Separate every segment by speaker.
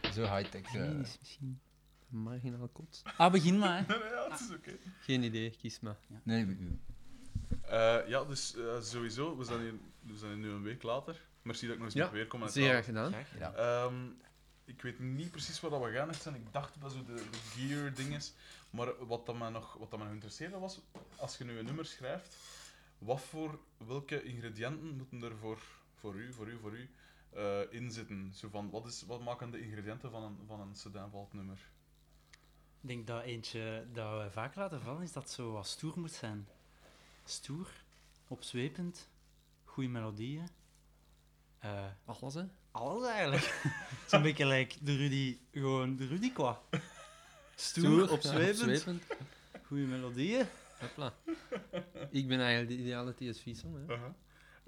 Speaker 1: high-tech. eh.
Speaker 2: Klinisch misschien.
Speaker 3: Marginaal kot.
Speaker 2: Ah, begin maar. hè.
Speaker 4: Nee, nee, ja, het is oké.
Speaker 3: Geen idee, kies maar.
Speaker 1: Nee, ik- ik-
Speaker 4: Eh, ja, dus eh, sowieso, we zijn, hier, we zijn hier nu een week later. Merci dat ik nog eens
Speaker 3: Ja,
Speaker 4: mag weerkomen. uit
Speaker 3: Zeer
Speaker 4: Laar.
Speaker 3: graag gedaan.
Speaker 1: ja. ja.
Speaker 4: Ehm, ik weet niet precies waar dat we gaan echt zijn. Ik dacht dat zo de, de gear ding is. Maar wat dat mij nog wat dat mij nog interesseerde was, als je nu een nummer schrijft, wat voor welke ingrediënten moeten er voor, voor u, voor u, voor u eh, in zitten? Zo van, wat, is, wat maken de ingrediënten van een, van een Sedan Valt nummer?
Speaker 2: Ik denk dat eentje dat we vaak laten vallen is dat ze wat stoer moet zijn. Stoer, opzwepend, goede melodieën. Eh,
Speaker 3: Alles, hè?
Speaker 2: alles eigenlijk. Zo'n beetje like de Rudy, gewoon de Rudy qua. Stoer,
Speaker 3: ja,
Speaker 2: opzwepend,
Speaker 3: opzwepend.
Speaker 2: goede melodieën.
Speaker 3: Hopla. Ik ben eigenlijk de ideale TSV-song, hè?
Speaker 4: Uh-huh.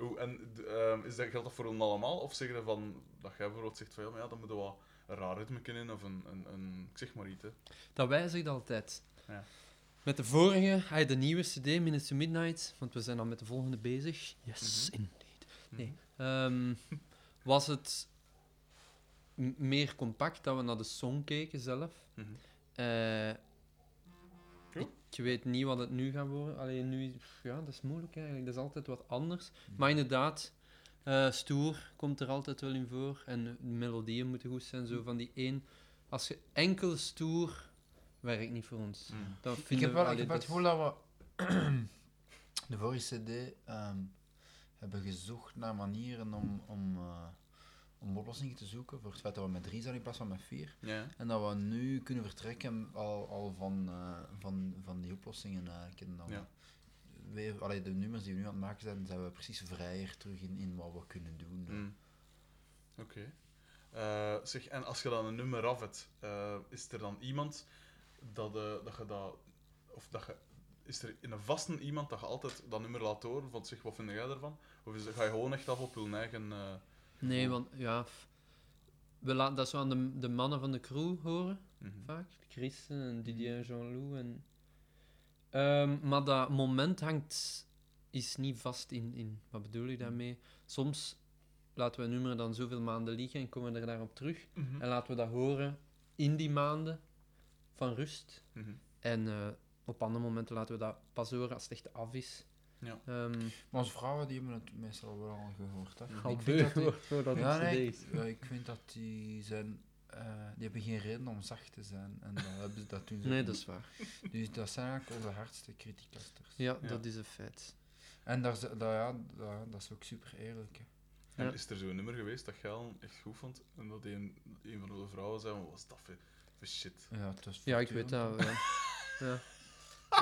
Speaker 4: Oeh, en d- ehm, is dat, geldt dat voor hen allemaal? Of zeggen ze van, dat jij bijvoorbeeld zegt van, ja, maar ja, dan moeten we wat een raar ritme in, of een, een, een, ik zeg maar iets, hè.
Speaker 3: Dat wijzigt altijd.
Speaker 4: Ja.
Speaker 3: Met de vorige, hij de nieuwe CD, Minutes to Midnight, want we zijn dan met de volgende bezig. Yes,
Speaker 1: Mhm.
Speaker 3: indeed. Nee. Ehm, was het m- meer compact dat we naar de song keken zelf?
Speaker 4: Mhm.
Speaker 3: Eh,
Speaker 4: Cool.
Speaker 3: Ik weet niet wat het nu gaat worden. Alleen nu, pff, ja, dat is moeilijk eigenlijk. Dat is altijd wat anders. Maar inderdaad, eh, stoer komt er altijd wel in voor. En de melodieën moeten goed zijn. Zo van die één. Als je enkel stoer werkt niet voor ons.
Speaker 4: Mm.
Speaker 3: Dat
Speaker 1: Ik
Speaker 3: vinden
Speaker 1: heb wel
Speaker 3: we,
Speaker 1: ik
Speaker 3: allee,
Speaker 1: heb het
Speaker 3: dat
Speaker 1: gevoel dat we de vorige CD ehm, hebben gezocht naar manieren om, om, eh, om oplossingen te zoeken voor het feit dat we met drie zijn in plaats van met vier.
Speaker 4: Ja.
Speaker 1: En dat we nu kunnen vertrekken al, al van, eh, van, van die oplossingen eigenlijk. En dat we
Speaker 4: Ja.
Speaker 1: weer, allee, de nummers die we nu aan het maken zijn, zijn we precies vrijer terug in, in wat we kunnen doen.
Speaker 4: Mm. Oké. Eh, zeg, en als je dan een nummer af hebt, eh, is er dan iemand dat, eh, dat je dat... Of dat je, is er in een vaste iemand dat je altijd dat nummer laat horen? Van zeg, wat vind jij daarvan? Of is, ga je gewoon echt af op hun eigen... eh,
Speaker 3: Nee, want ja. f- We laten dat zo aan de, de mannen van de crew horen.
Speaker 4: mhm.
Speaker 3: vaak. Christen en Didier en Jean-Loup. En... Ehm, maar dat moment hangt, is niet vast in, in. Wat bedoel ik daarmee? Soms laten we een nummer dan zoveel maanden liggen en komen we er daarop terug.
Speaker 4: Mhm.
Speaker 3: En laten we dat horen in die maanden van rust.
Speaker 4: Mhm.
Speaker 3: En eh, op andere momenten laten we dat pas horen als het echt af is.
Speaker 4: Ja.
Speaker 3: Ehm,
Speaker 1: Maar onze vrouwen die hebben het meestal wel al gehoord. Hè?
Speaker 3: al
Speaker 1: Ik vind
Speaker 3: beu
Speaker 1: dat die-
Speaker 3: wordt voordat
Speaker 1: Ja,
Speaker 3: het
Speaker 1: nee,
Speaker 3: cd
Speaker 1: ik,
Speaker 3: is.
Speaker 1: ja, ik vind dat die zijn... eh, die hebben geen reden om zacht te zijn. En dat, hebben ze, dat doen ze
Speaker 3: Nee,
Speaker 1: ook
Speaker 3: dat is waar.
Speaker 1: niet. Dus dat zijn eigenlijk onze hardste criticasters.
Speaker 3: Ja,
Speaker 4: Ja.
Speaker 3: dat is een feit.
Speaker 1: En daar, ze- dat, ja, dat, dat is ook super eerlijk. Hè.
Speaker 4: En
Speaker 3: Ja.
Speaker 4: is er zo'n nummer geweest dat jij al echt goed vond? En dat een, een van de vrouwen zei, wat was dat voor, voor shit?
Speaker 1: Ja, het is
Speaker 3: Ja, ik weet
Speaker 1: voortdurend,
Speaker 3: dat. Ja, ja.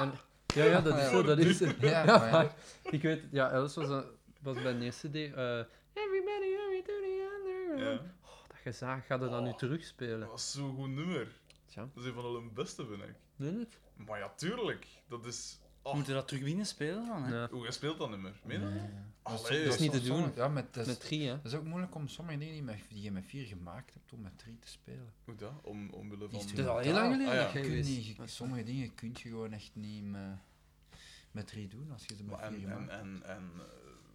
Speaker 3: En- ja, ja, dat is zo. Dat is,
Speaker 1: hè. Ja, maar ja.
Speaker 3: maar ik weet, ja, Els was, een- was bij de eerste CD. eh, Everybody, hurry to the underground.
Speaker 4: Ja.
Speaker 3: Oh, dat gezaag gaat er dan nu
Speaker 4: Oh.
Speaker 3: terugspelen.
Speaker 4: Dat was zo'n goed nummer.
Speaker 3: Tja,
Speaker 4: Dat is een van de beste, vind ik.
Speaker 3: nee, niet?
Speaker 4: Maar ja, tuurlijk. Dat is...
Speaker 2: Moeten
Speaker 4: Oh,
Speaker 2: Moet je dat terug binnen spelen dan? Hè?
Speaker 3: Nee.
Speaker 4: Hoe jij speelt dat nummer? Meen je dat?
Speaker 1: Ja, ja. Maar
Speaker 4: Allee.
Speaker 1: soms-
Speaker 4: Dat is
Speaker 3: niet te
Speaker 1: soms- soms- Ja, maar dat is,
Speaker 3: Met drie, hè?
Speaker 1: dat is ook moeilijk om sommige dingen die, met, die je met vier gemaakt hebt, om met drie te spelen.
Speaker 4: Hoe dat? Om, omwille van...
Speaker 1: Iets
Speaker 3: Het is al heel lang geleden
Speaker 4: Ah, ja.
Speaker 3: dat jij
Speaker 1: Kun je
Speaker 3: geweest
Speaker 1: niet, je-
Speaker 3: bent.
Speaker 1: sommige dingen kun je gewoon echt niet met, met drie doen als je ze met
Speaker 4: Maar
Speaker 1: vier
Speaker 4: en, en,
Speaker 1: gemaakt hebt.
Speaker 4: en, en eh,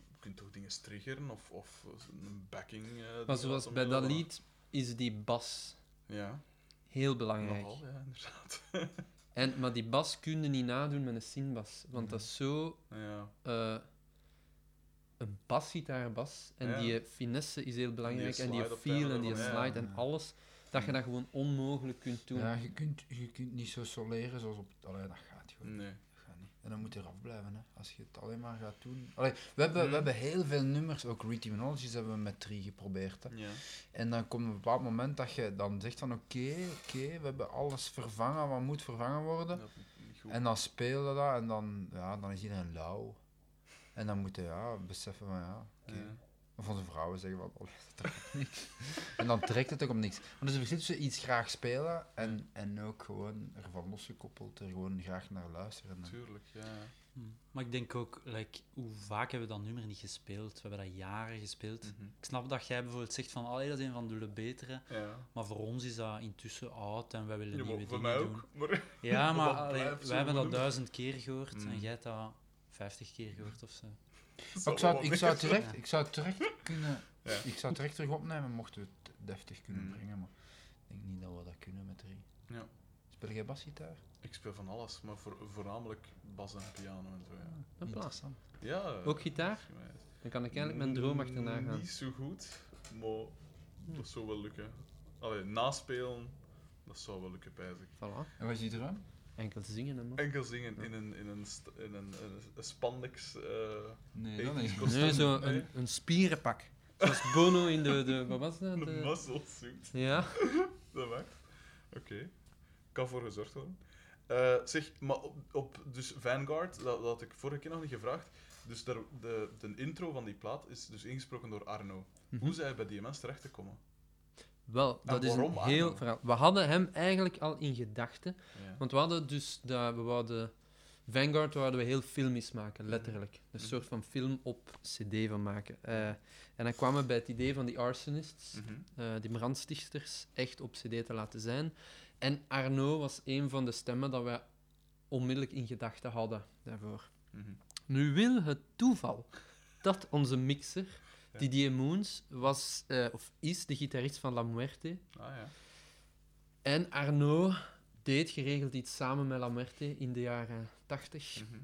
Speaker 4: je kunt toch dingen triggeren of, of een backing. eh,
Speaker 3: Maar
Speaker 4: die
Speaker 3: zoals
Speaker 4: laat
Speaker 3: bij dat
Speaker 4: omwille van-
Speaker 3: lied is die bas
Speaker 4: Ja,
Speaker 3: heel belangrijk.
Speaker 4: nogal, ja, inderdaad.
Speaker 3: En, maar die bas kun je niet nadoen met een synbas, want dat is zo
Speaker 4: ja.
Speaker 3: eh, een basgitaarbas. En
Speaker 4: Ja.
Speaker 3: die finesse is heel belangrijk. en die
Speaker 4: slide op het
Speaker 3: feel
Speaker 4: einde
Speaker 3: en die
Speaker 4: ervan, ja,
Speaker 3: slide
Speaker 4: ja.
Speaker 3: en alles. Dat je dat gewoon onmogelijk kunt doen.
Speaker 1: Ja, je kunt, je kunt niet zo soleren zoals op... Allee, dat gaat gewoon
Speaker 4: Nee.
Speaker 1: Ga niet. En dan moet je eraf blijven, hè. als je het alleen maar gaat doen. Allee, we, hebben, we hebben heel veel nummers, ook Retimologies hebben we met drie geprobeerd. Hè.
Speaker 4: Ja.
Speaker 1: En dan komt een bepaald moment dat je dan zegt van oké, oké, we hebben alles vervangen wat moet vervangen worden.
Speaker 4: Dat is niet goed.
Speaker 1: En dan speel je dat en dan, ja, dan is iedereen lauw. En dan moeten ja, beseffen van ja, oké.
Speaker 4: Ja.
Speaker 1: Of onze vrouwen zeggen van, oh, dat trekt niks. en dan trekt het ook om niks. Maar dus er verschil tussen iets graag spelen en, en ook gewoon ervan losgekoppeld, er gewoon graag naar luisteren.
Speaker 4: Tuurlijk, ja.
Speaker 2: Hm. Maar ik denk ook, like, hoe vaak hebben we dat nummer niet gespeeld? We hebben dat jaren gespeeld.
Speaker 4: Mhm.
Speaker 2: Ik snap dat jij bijvoorbeeld zegt van, allee, dat is een van de betere.
Speaker 4: Ja,
Speaker 2: Maar voor ons is dat intussen oud en wij willen
Speaker 4: Ja, maar
Speaker 2: nieuwe
Speaker 4: voor
Speaker 2: dingen
Speaker 4: mij
Speaker 2: doen.
Speaker 4: ook. Maar...
Speaker 2: Ja, maar
Speaker 4: Dat
Speaker 2: allee,
Speaker 4: blijft zo
Speaker 2: wij hebben dat
Speaker 4: genoemd.
Speaker 2: duizend keer gehoord
Speaker 4: Mm.
Speaker 2: en jij hebt dat vijftig keer gehoord of zo.
Speaker 1: Maar Ik zou,
Speaker 4: wel
Speaker 1: ik,
Speaker 4: wat
Speaker 1: zou
Speaker 4: meer
Speaker 1: terecht,
Speaker 2: Ja.
Speaker 1: ik zou terecht kunnen.
Speaker 4: Ja.
Speaker 1: Ik zou terecht terug opnemen mochten we het deftig kunnen
Speaker 4: Mm.
Speaker 1: brengen. Maar Ik denk niet dat we dat kunnen met drie.
Speaker 4: Ja.
Speaker 1: Speel jij basgitaar?
Speaker 4: Ik speel van alles, maar voor, voornamelijk bas en piano en zo. Ja,
Speaker 3: Hopla.
Speaker 1: Interessant.
Speaker 4: ja
Speaker 3: Ook gitaar?
Speaker 4: volgens mij is-
Speaker 3: Dan kan ik eigenlijk mijn droom achterna gaan.
Speaker 4: Niet zo goed, maar dat zou wel lukken. Allee, naspelen, dat zou wel lukken, pijs ik.
Speaker 3: Voilà.
Speaker 1: En wat is die droom?
Speaker 3: Enkel zingen en
Speaker 4: Enkel zingen in een, in een, st- in een, een, een spandex. eh,
Speaker 1: Nee,
Speaker 4: Hey,
Speaker 1: dat
Speaker 4: die
Speaker 1: niet.
Speaker 4: is kost-
Speaker 3: Nee, zo
Speaker 4: Nee.
Speaker 3: een, een spierenpak. Zoals Bono in de, de... Wat was dat?
Speaker 4: een
Speaker 3: De,
Speaker 4: mazzel zoekt.
Speaker 3: ja.
Speaker 4: Dat maakt. Oké. Kan voor gezorgd worden. Eh, zeg, maar op, op dus Vanguard, dat, dat had ik vorige keer nog niet gevraagd. Dus daar, de, de intro van die plaat is dus ingesproken door Arno. Hoe zij bij DMS terecht te komen.
Speaker 3: Wel, dat is een
Speaker 4: waarom
Speaker 3: heel
Speaker 4: Arno?
Speaker 3: verhaal. We hadden hem eigenlijk al in gedachten.
Speaker 4: Ja.
Speaker 3: Want we hadden dus dat, we wouden Vanguard wouden we heel filmisch maken, letterlijk. Een
Speaker 4: Mhm.
Speaker 3: soort van film op CD van maken. Eh, en dan kwamen we bij het idee van die arsonists,
Speaker 4: Mhm.
Speaker 3: eh, die brandstichters, echt op CD te laten zijn. En Arno was een van de stemmen dat wij onmiddellijk in gedachten hadden daarvoor.
Speaker 4: Mhm.
Speaker 3: Nu wil het toeval dat onze mixer,
Speaker 4: Ja.
Speaker 3: Didier Moons, was, eh, of is de gitarist van La Muerte.
Speaker 4: Ah ja.
Speaker 3: En Arno deed geregeld iets samen met Lamerte in de jaren 80.
Speaker 4: Mhm.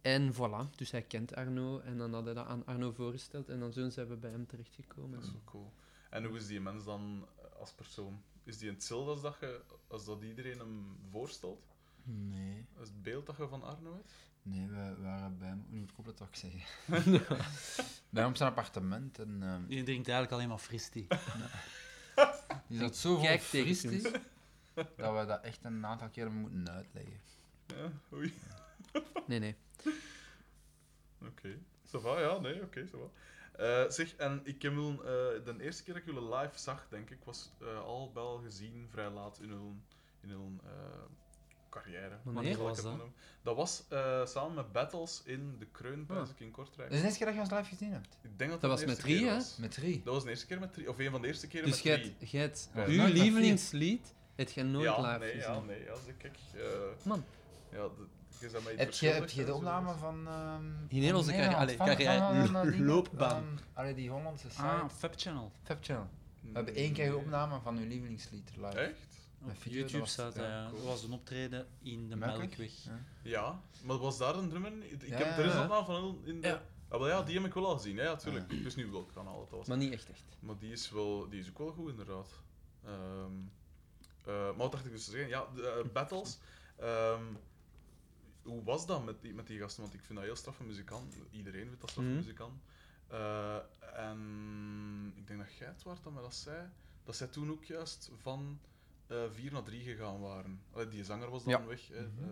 Speaker 3: En voilà, dus hij kent Arno en dan had hij dat aan Arno voorgesteld en dan zo zijn we bij hem terechtgekomen. Dus
Speaker 4: Dat is wel cool. En hoe is die mens dan eh, als persoon? Is die hetzelfde als dat, je, als dat iedereen hem voorstelt?
Speaker 1: Nee.
Speaker 4: Is het beeld dat je van Arno hebt?
Speaker 1: Nee, we waren bij hem. Hoe klopt dat ook zeggen? bij hem op zijn appartement en ehm,
Speaker 2: Je drinkt eigenlijk alleen maar fristie.
Speaker 1: die zat zo vol
Speaker 3: Kijk tegen
Speaker 1: fristie
Speaker 3: ons.
Speaker 1: dat we dat echt een aantal keer moeten uitleggen.
Speaker 4: Ja, oei.
Speaker 3: Nee, nee.
Speaker 4: Oké. Ça va, ja, nee, oké, ça va. Eh, zeg, en ik heb Ulm, eh, de eerste keer dat ik jullie live zag, denk ik, was eh, al wel gezien vrij laat in hun, in hun eh, carrière.
Speaker 3: Wanneer
Speaker 4: Zal ik
Speaker 2: was
Speaker 4: het
Speaker 2: dat?
Speaker 4: maar noemen. Dat was eh, samen met Battles in de Kreun, pijs ik, in Kortrijk.
Speaker 1: Dat is Dus de eerste keer dat je ons live gezien hebt.
Speaker 4: Ik denk dat
Speaker 3: Dat was
Speaker 4: de
Speaker 3: met
Speaker 4: eerste keer
Speaker 3: drie, hè?
Speaker 4: was.
Speaker 1: Eh, Met drie.
Speaker 4: Dat was de eerste keer met drie, of een van de eerste keren
Speaker 3: Dus
Speaker 4: met
Speaker 3: jij
Speaker 4: drie. nou,
Speaker 3: hebt- jij hebt
Speaker 1: Ja.
Speaker 3: uw
Speaker 1: Nooit met
Speaker 3: lievelingslied, het je nooit
Speaker 4: ja,
Speaker 3: live
Speaker 4: nee,
Speaker 3: gezien.
Speaker 4: Ja, nee, ja, zeg, kijk. eh,
Speaker 3: Man.
Speaker 4: Ja, de- je bent mij
Speaker 1: Heb
Speaker 4: iets
Speaker 1: je, heb
Speaker 4: verschuldigd,
Speaker 1: je
Speaker 4: hè,
Speaker 1: de
Speaker 4: zo
Speaker 1: opname
Speaker 4: dus.
Speaker 1: van... ehm
Speaker 3: In Nederland
Speaker 1: van
Speaker 3: kan je- allee,
Speaker 1: van-
Speaker 3: kan je
Speaker 1: van- van-
Speaker 3: lo-
Speaker 1: van- die-
Speaker 3: loopbaan.
Speaker 1: ehm, allee, die Hollandse site.
Speaker 2: Ah, Fab Channel.
Speaker 1: Fab Channel. We hebben één keer een opname van uw lievelingslied live.
Speaker 4: Echt?
Speaker 1: Met
Speaker 2: Op
Speaker 1: video, dat
Speaker 2: YouTube
Speaker 1: was-
Speaker 2: staat dat,
Speaker 1: ja,
Speaker 2: ja.
Speaker 4: cool.
Speaker 2: Dat was een optreden in de
Speaker 1: Melkweg?
Speaker 2: Melkweg.
Speaker 1: Ja.
Speaker 4: Ja, maar was daar een drummer? in? Ik
Speaker 1: Ja,
Speaker 4: heb er
Speaker 1: ja,
Speaker 4: is een
Speaker 1: ja.
Speaker 4: opname van heel in de...
Speaker 3: Ja.
Speaker 4: Ah, wel, ja, die heb ik wel al gezien, hè, ja, tuurlijk. Ik wist niet welk kanaal dat was.
Speaker 3: Maar niet echt echt.
Speaker 4: Maar die is, wel, die is ook wel goed, inderdaad. Ehm, eh, maar wat dacht ik dus te zeggen? Ja, de, eh, Battles. ehm, hoe was dat met die, met die gasten? Want ik vind dat heel straffe muzikant. Iedereen vindt dat straffe
Speaker 3: Mhm.
Speaker 4: muzikant. Eh, en ik denk dat jij het waard dat mij dat zei. Dat zij toen ook juist van eh 4 naar 3 gegaan waren. Allee, die zanger was dan
Speaker 3: Ja.
Speaker 4: weg. Hè. Eh,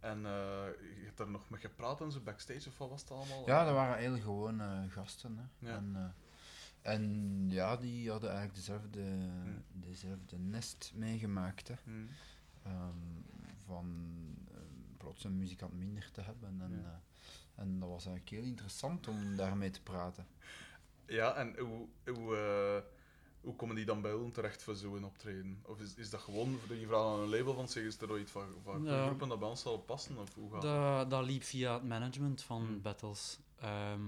Speaker 4: en eh, je hebt daar nog met gepraat en zo backstage of wat was het allemaal?
Speaker 1: Ja, dat waren heel gewone gasten. Hè.
Speaker 4: Ja.
Speaker 1: En, eh, en ja, die hadden eigenlijk dezelfde, dezelfde nest meegemaakt. Hè.
Speaker 4: Hm.
Speaker 1: Ehm, van eh, plots een muzikant minder te hebben. En,
Speaker 4: Ja.
Speaker 1: eh, en dat was eigenlijk heel interessant om daarmee te praten.
Speaker 4: Ja, en hoe, hoe, eh, hoe komen die dan bij ons terecht voor zo'n optreden? Of is, is dat gewoon dat je vraagt aan een label van zeg, is er ooit van, van
Speaker 2: Ja.
Speaker 4: een groep en dat bij ons zal passen? Of hoe gaat dat?
Speaker 2: Dat, dat liep via het management van
Speaker 4: Hmm.
Speaker 2: Battles. Ehm,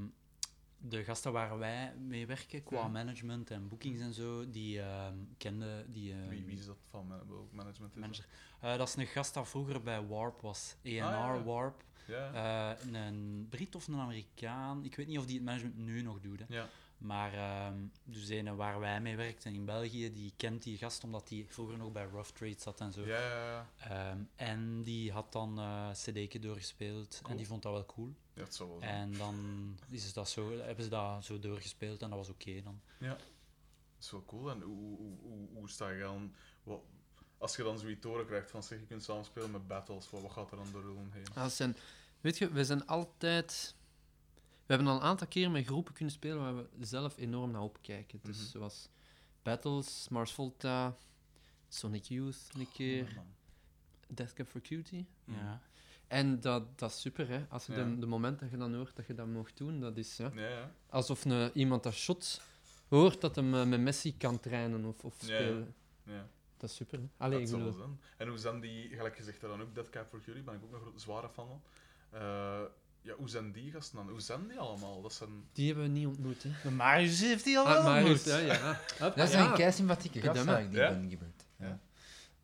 Speaker 2: de gasten waar wij mee werken, qua
Speaker 4: Hmm.
Speaker 2: management en boekings en zo, die ehm, kenden die ehm,
Speaker 4: Wie, wie is dat van man- welk management? Is dat?
Speaker 2: manager. Eh, dat is een gast dat vroeger bij Warp was. ENR
Speaker 4: Ah, ja.
Speaker 2: Warp.
Speaker 4: Ja, ja.
Speaker 2: Eh, een Brit of een Amerikaan. Ik weet niet of die het management nu nog doet. Hè.
Speaker 4: ja.
Speaker 2: Maar ehm, dus ene waar wij mee werkten in België, die kent die gast omdat die vroeger nog bij Rough Trade zat en zo.
Speaker 4: Ja, ja, ja.
Speaker 2: Ehm, en die had dan eh cd'tje doorgespeeld en
Speaker 4: Cool.
Speaker 2: die vond dat wel cool.
Speaker 4: Ja, het zal wel zijn.
Speaker 2: En dan is dat zo, hebben ze dat zo doorgespeeld en dat was oké dan.
Speaker 4: Dat is wel cool. En hoe, hoe, hoe, hoe, hoe sta je dan... Wat, als je dan zoiets horen krijgt van zeg, je kunt samen spelen met battles, wat, wat gaat er dan door hun heen?
Speaker 3: Ah, het zijn, weet je, we zijn altijd... We hebben al een aantal keer met groepen kunnen spelen waar we zelf enorm naar opkijken. Dus
Speaker 4: Mhm.
Speaker 3: zoals Battles, Mars Volta, Sonic Youth een keer,
Speaker 4: Ja, man.
Speaker 3: Death Cab for Cutie.
Speaker 4: Hmm.
Speaker 2: Ja.
Speaker 3: En dat, dat is super, hè. Als je
Speaker 4: Ja.
Speaker 3: de, de moment dat je dan hoort dat je dat mag doen, dat is ja,
Speaker 4: Ja, ja.
Speaker 3: alsof een, iemand dat shot hoort dat hem eh, met Messi kan trainen of, of
Speaker 4: Ja, ja.
Speaker 3: spelen.
Speaker 4: ja.
Speaker 3: Dat is super. hè. Allee,
Speaker 4: dat
Speaker 3: ik
Speaker 4: zal wel
Speaker 3: bedoel,
Speaker 4: zijn. En hoe zijn die, gelijk gezegd dan ook, Dead Cab for Cutie, ben ik ook een gro- zware fan van. Eh, ja, hoe zijn die gasten dan? Hoe zijn die allemaal? Dat zijn...
Speaker 3: die hebben we niet ontmoet, hè.
Speaker 2: Maar Marius heeft die al
Speaker 3: Ah, maar heeft, ja, ja. Hup,
Speaker 1: Dat
Speaker 3: ja.
Speaker 1: zijn kei sympathieke
Speaker 3: Verdamme.
Speaker 1: gasten eigenlijk die
Speaker 4: Ja?
Speaker 1: ben gebeurd.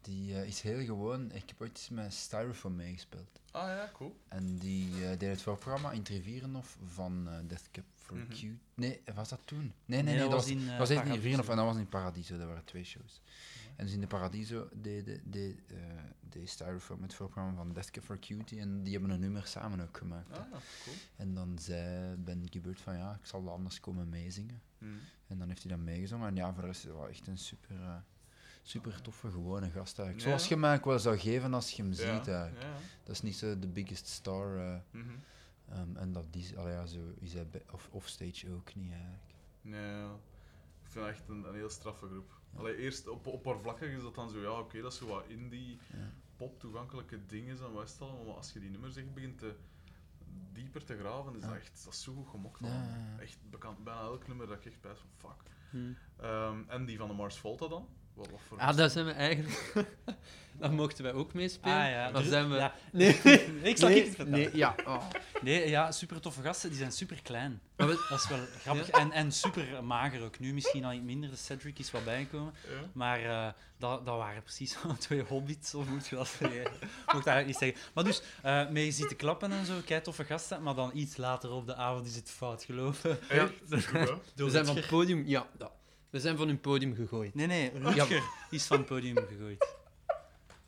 Speaker 1: Die eh, is heel gewoon. Ik heb ooit eens met Styrofoam meegespeeld.
Speaker 4: Ah ja, cool.
Speaker 1: En die eh, deed het voorprogramma in Trivierenhof van eh, Death Cup for
Speaker 4: Mhm.
Speaker 1: Cute. Nee, was dat toen? Nee, nee, nee. dat was,
Speaker 2: in,
Speaker 1: dat was
Speaker 2: eh,
Speaker 1: echt in
Speaker 2: Paradiso.
Speaker 1: Trivierenhof en dat was in Paradiso. Dat waren twee shows.
Speaker 4: Mooi.
Speaker 1: En dus in de Paradiso deed de, de, eh, deed Styrofoam het voorprogramma van Death Cup for Cutie. En die hebben een nummer samen ook gemaakt. hè.
Speaker 4: Ah, cool.
Speaker 1: En dan zei Ben Gibbert van ja, ik zal anders komen meezingen.
Speaker 4: Mhm.
Speaker 1: En dan heeft hij dat meegezongen. En ja, voor de rest is hij wel echt een super, eh, super toffe, gewone gast eigenlijk.
Speaker 4: Ja.
Speaker 1: Zoals je hem eigenlijk wel zou geven als je hem ziet
Speaker 4: Ja,
Speaker 1: eigenlijk.
Speaker 4: Ja, ja.
Speaker 1: Dat is niet zo de biggest star. eh,
Speaker 4: Mhm.
Speaker 1: ehm, en dat is, allee, ja, zo is hij bij- of offstage ook niet eigenlijk.
Speaker 4: Nee, ja. ik vind het echt een, een heel straffe groep. Allee, eerst op, oppervlakkig is dat dan zo, ja, oké, dat is zo wat indie,
Speaker 1: Ja.
Speaker 4: pop, toegankelijke dingen en wat is het allemaal, maar als je die nummers echt begint te dieper te graven, is dat
Speaker 1: Ja.
Speaker 4: echt, dat is zo goed gemokt.
Speaker 1: Ja,
Speaker 4: allemaal.
Speaker 1: ja, ja.
Speaker 4: Echt bekend, bijna elk nummer dat ik echt bij van fuck.
Speaker 3: Hm.
Speaker 4: Ehm, en die van de Mars Volta dan? Wat, wat voor
Speaker 3: Ah, daar zijn we eigenlijk... daar mochten wij ook meespelen.
Speaker 2: Ah ja,
Speaker 3: Maar zijn we...
Speaker 2: ja.
Speaker 3: Nee.
Speaker 2: Ik zal
Speaker 3: nee,
Speaker 2: ik het vertellen.
Speaker 3: nee, ja. Oh.
Speaker 2: Nee, ja, super toffe gasten, die zijn super klein.
Speaker 3: Maar we-
Speaker 2: Dat is wel grappig. En, en super mager ook. Nu misschien al iets minder, de Cedric is wat bijgekomen.
Speaker 4: Ja.
Speaker 2: Maar eh, dat, dat waren precies twee hobbits, of moet je dat zeggen? Ik mocht dat eigenlijk niet zeggen. Maar dus, eh mee zitten klappen en zo, kei toffe gasten. Maar dan iets later op de avond is het fout gelopen.
Speaker 4: Echt? Ja.
Speaker 2: Door
Speaker 3: We zijn van
Speaker 2: Rutger.
Speaker 3: het podium... Ja, ja. We zijn van hun podium gegooid.
Speaker 2: Nee, nee, Rutger is van het podium gegooid.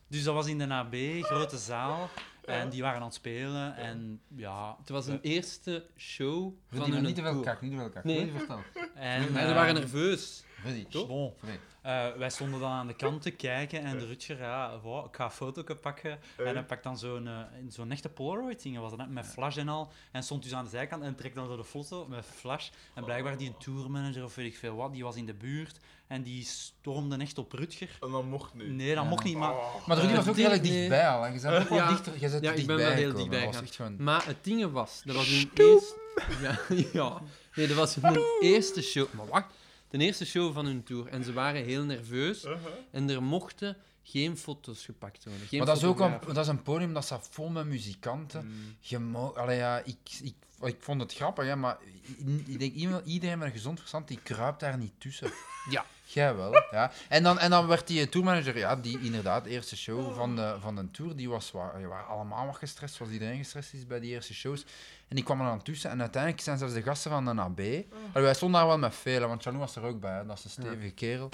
Speaker 2: Dus dat was in de AB, grote zaal. En die waren aan het spelen. En ja...
Speaker 3: Het was een eerste show
Speaker 1: Rudy, maar
Speaker 3: van hun
Speaker 1: niet te veel
Speaker 3: koor.
Speaker 1: kak, niet te veel kak.
Speaker 3: Nee.
Speaker 1: Rudy, vertel.
Speaker 2: En,
Speaker 3: Maar ze
Speaker 2: eh,
Speaker 3: waren nerveus.
Speaker 1: Rudy,
Speaker 3: Toch?
Speaker 2: Bon,
Speaker 1: Rudy.
Speaker 2: Eh, wij stonden dan aan de kant te kijken en de Rutger, ja, wou, ik ga een foto pakken. En hij pakt dan zo'n eh, in zo'n echte Polaroid-ding, was dat, hè, met flash en al. En stond dus aan de zijkant en trekt dan zo de foto met flash. En blijkbaar die een tourmanager of weet ik veel wat, die was in de buurt. En die stormde echt op Rutger.
Speaker 4: En dat mocht niet.
Speaker 2: Nee, dat
Speaker 1: Ja.
Speaker 2: mocht niet, maar...
Speaker 4: Ah.
Speaker 1: Maar Rudy
Speaker 3: Eh,
Speaker 1: was ook
Speaker 3: die-
Speaker 1: redelijk
Speaker 3: nee.
Speaker 1: dichtbij al. hè. Je bent ook wel
Speaker 3: Ja.
Speaker 1: dichter, je bent
Speaker 3: Ja, ik ben wel
Speaker 1: dichtbij
Speaker 3: heel
Speaker 1: gekomen.
Speaker 3: dichtbij
Speaker 1: Dat was
Speaker 3: gegaan.
Speaker 1: echt gewoon...
Speaker 3: Maar het ding was, dat was hun eerste... Ja, ja. Nee, dat was hun eerste show... Maar wacht. De eerste show van hun tour. En ze waren heel nerveus.
Speaker 4: Uh-huh.
Speaker 3: En er mochten geen foto's gepakt worden. Geen
Speaker 1: Maar dat is ook een,
Speaker 3: fotograaf.
Speaker 1: dat is een podium dat staat vol met muzikanten.
Speaker 4: Mm.
Speaker 1: Je mo- Allee, ja, ik, ik, ik vond het grappig, hè, maar i- ik denk iemand- iedereen met een gezond verstand die kruipt daar niet tussen.
Speaker 3: Ja.
Speaker 1: Jij wel. Ja. En, dan, en dan werd die tourmanager, ja, die inderdaad, eerste show van de, van de tour, die was waar, die waren allemaal wat gestrest, zoals iedereen gestrest is bij die eerste shows. En die kwamen er dan tussen en uiteindelijk zijn zelfs de gasten van de
Speaker 3: Oh.
Speaker 1: AB. Allee, wij stonden daar wel met velen, want Chanou was er ook bij, hè, dat is een stevige kerel.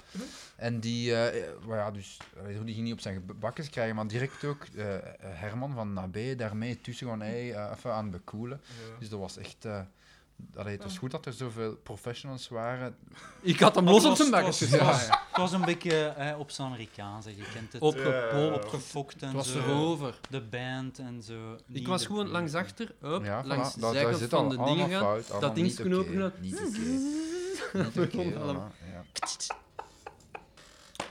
Speaker 1: En die, eh, eh, maar ja, dus, eh, die ging niet op zijn geb- bakjes krijgen, maar direct ook eh, eh, Herman van Nabé daarmee tussen gewoon hey, eh, even aan het bekoelen.
Speaker 4: Ja.
Speaker 1: Dus dat was echt. eh, allee, het was goed dat er zoveel professionals waren.
Speaker 3: Ik had hem los op
Speaker 2: Het
Speaker 3: zijn
Speaker 2: was-
Speaker 3: bakjes
Speaker 2: het was-
Speaker 3: geslagen.
Speaker 2: het was- Het was een beetje eh, op zijn Amerikaans, hè, je kent het.
Speaker 3: Opgepopt.
Speaker 4: Ja.
Speaker 2: Opgefokt en
Speaker 3: Het was
Speaker 2: zo.
Speaker 3: erover.
Speaker 2: De band en zo.
Speaker 3: Ik
Speaker 2: Niet
Speaker 3: was
Speaker 2: de-
Speaker 3: gewoon langs achter, up,
Speaker 1: ja,
Speaker 3: langs
Speaker 1: voilà, daar-
Speaker 3: de
Speaker 1: daar
Speaker 3: zijkant
Speaker 1: zit
Speaker 3: van
Speaker 1: al
Speaker 3: de
Speaker 1: allemaal
Speaker 3: dingen gaan.
Speaker 1: fout, allemaal niet
Speaker 3: dingsknopje
Speaker 1: oké,
Speaker 3: dat-
Speaker 1: Niet oké. Niet oké,
Speaker 3: Komt allemaal.
Speaker 1: voilà, ja.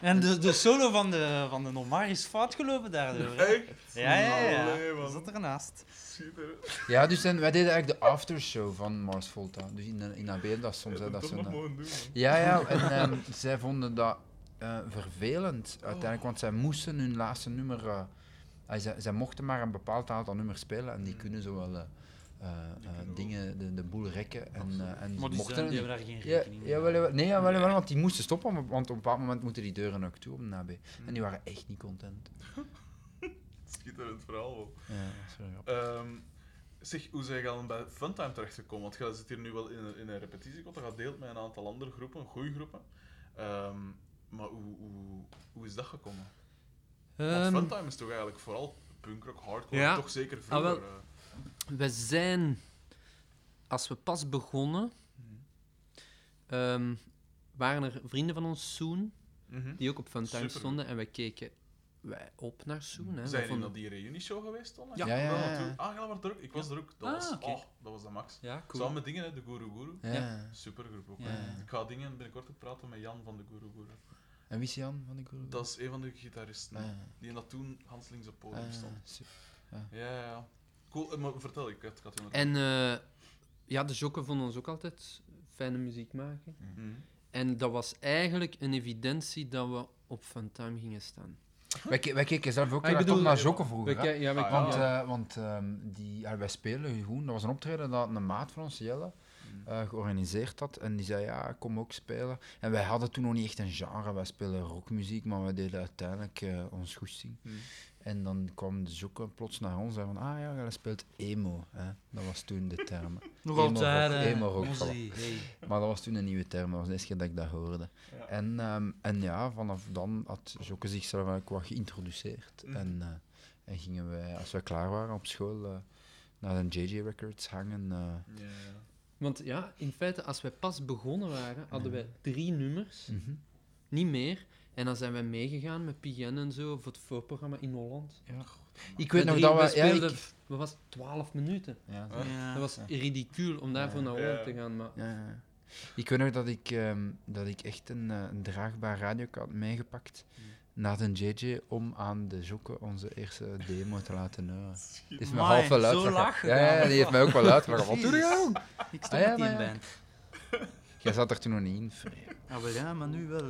Speaker 2: En de, de solo van de, van de Nomar is fout gelopen daardoor. hè.
Speaker 4: Echt?
Speaker 2: Ja, ja, ja.
Speaker 4: Allee, man.
Speaker 2: Dat zat ernaast.
Speaker 4: Super.
Speaker 1: Ja, dus en wij deden eigenlijk de aftershow van Mars Volta. Dus in, in AB, dat soms. hè,
Speaker 4: dat
Speaker 1: dat
Speaker 4: toch
Speaker 1: ze
Speaker 4: nog
Speaker 1: een- eh,
Speaker 4: mogen doen, man.
Speaker 1: Ja, ja, en ehm, zij vonden dat eh, vervelend uiteindelijk, want zij moesten hun laatste nummer. eh, ah, zij, zij mochten maar een bepaald aantal nummers spelen en die
Speaker 4: Mm.
Speaker 1: kunnen zo wel eh, eh,
Speaker 4: Die
Speaker 1: eh,
Speaker 4: kunnen
Speaker 1: dingen, de, de boel rekken. En,
Speaker 4: Absoluut.
Speaker 1: eh, en ze
Speaker 2: Maar die,
Speaker 1: mochten
Speaker 2: zijn,
Speaker 1: het
Speaker 2: die
Speaker 1: niet.
Speaker 2: hebben daar geen
Speaker 1: ja,
Speaker 2: rekening mee.
Speaker 1: ja, wel, wel, nee, ja, wel, wel, want die moesten stoppen, want want op een bepaald moment moeten die deuren ook toe op de NAB. En die waren echt niet content.
Speaker 4: Schitterend verhaal, man.
Speaker 1: Ja, dat is wel grappig.
Speaker 4: Ehm, zeg, hoe zijn je dan bij Funtime terechtgekomen? Want jij zit hier nu wel in een, in een repetitiekot, dat gaat deelt met een aantal andere groepen, goede groepen. Ehm, maar hoe, hoe, hoe is dat gekomen? Want
Speaker 3: Ehm,
Speaker 4: Funtime is toch eigenlijk vooral punkrock, hardcore,
Speaker 3: ja.
Speaker 4: toch zeker
Speaker 2: Ah,
Speaker 4: vroeger.
Speaker 3: wel.
Speaker 4: eh.
Speaker 3: we zijn, als we pas begonnen, ehm, waren er vrienden van ons, Soen,
Speaker 4: Mhm.
Speaker 3: die ook op Funtime
Speaker 4: Supergoed.
Speaker 3: stonden. En wij keken wij op naar Soen. Hè.
Speaker 4: Zijn
Speaker 3: Wij
Speaker 4: jullie
Speaker 3: vonden-
Speaker 4: naar die reunieshow geweest onlangs?
Speaker 1: Ja. Ja, ja, ja.
Speaker 4: natuurlijk. Ah, jij was er ook. Ik was er ook. Dat,
Speaker 3: Ah,
Speaker 4: was,
Speaker 3: oké.
Speaker 4: oh, dat was de max.
Speaker 3: Ja, cool.
Speaker 4: Samen met dingen, hè, de Guru Guru.
Speaker 1: Ja.
Speaker 4: Supergroep ook.
Speaker 2: Ja.
Speaker 4: hè. Ik ga dingen binnenkort ook praten met Jan van de Guru Guru.
Speaker 1: En wie is Jan van de Guru?
Speaker 4: Dat is een van de gitaristen.
Speaker 1: Ah,
Speaker 4: Die in dat toen Hans links op podium
Speaker 1: ah,
Speaker 4: stond.
Speaker 1: super.
Speaker 4: Ja, ja, ja. Cool, eh, maar vertel ik, het gaat iemand.
Speaker 3: En eh, ja, de jokken vonden ons ook altijd fijne muziek maken.
Speaker 4: Mhm.
Speaker 3: En dat was eigenlijk een evidentie dat we op Funtime gingen staan.
Speaker 1: Wij, ke- wij keken zelf ook
Speaker 3: Ah, ik
Speaker 1: heel erg
Speaker 3: bedoel,
Speaker 1: op naar
Speaker 3: eh,
Speaker 1: Jokke
Speaker 3: We
Speaker 1: vroeger. hè.
Speaker 3: ke- ja, we
Speaker 4: Ah,
Speaker 3: kwamen-
Speaker 1: Want,
Speaker 3: ja.
Speaker 1: eh, want ehm, die, ah, wij spelen gewoon. Dat was een optreden dat een maat van ons, Jelle,
Speaker 4: Mhm.
Speaker 1: eh, georganiseerd had. En die zei, ja, kom ook spelen. En wij hadden toen nog niet echt een genre. Wij speelden rockmuziek, maar we deden uiteindelijk eh, ons goesting.
Speaker 4: Hmm.
Speaker 1: En dan kwam de zoeken plots naar ons en van, ah ja, jij speelt emo. Hè. Dat was toen de term.
Speaker 2: Nog
Speaker 1: Emo
Speaker 2: altijd.
Speaker 1: rock,
Speaker 2: eh,
Speaker 1: emo rock,
Speaker 2: Ozzy, hey.
Speaker 1: Maar dat was toen een nieuwe term, dat was de eerste keer dat ik dat hoorde.
Speaker 4: Ja.
Speaker 1: En, ehm, en ja, vanaf dan had Jokke zichzelf eigenlijk wat geïntroduceerd.
Speaker 4: Mhm.
Speaker 1: En, eh, en gingen wij, als wij klaar waren op school, eh, naar de JJ Records hangen. eh.
Speaker 4: Ja, ja.
Speaker 3: Want ja, in feite, als wij pas begonnen waren, hadden
Speaker 1: Ja.
Speaker 3: wij drie nummers,
Speaker 1: Mhm.
Speaker 3: niet meer. En dan zijn wij meegegaan met PN en zo voor het voorprogramma in Holland.
Speaker 1: Ik weet
Speaker 3: Wij
Speaker 1: nog
Speaker 3: drie,
Speaker 1: dat we...
Speaker 3: wij
Speaker 1: Ja,
Speaker 3: speelden,
Speaker 1: ik-
Speaker 3: f- wat was het, 12 minuten?
Speaker 1: ja,
Speaker 4: Huh?
Speaker 2: Ja.
Speaker 3: Dat was ridicuul om daarvoor
Speaker 1: Ja.
Speaker 3: naar Holland
Speaker 4: Ja.
Speaker 3: te gaan, maar...
Speaker 1: Ja, ja. Ik weet nog dat ik, ehm, dat ik echt een, eh, een draagbaar radio had meegepakt naar de JJ om aan de Jokke onze eerste demo te laten horen. Het is me
Speaker 2: Amai,
Speaker 1: half wel
Speaker 2: zo
Speaker 1: uitgelachen.
Speaker 2: laag
Speaker 1: Ja,
Speaker 2: gedaan.
Speaker 1: ja, die heeft mij ook wel uitgelachen. Wat doe je
Speaker 2: Jezus.
Speaker 1: nou?
Speaker 2: Ik stond
Speaker 1: Ah, ja,
Speaker 2: met die
Speaker 1: maar ja.
Speaker 2: band.
Speaker 1: Jij zat er toen nog niet in. Free.
Speaker 2: Ah, wel ja, maar nu wel.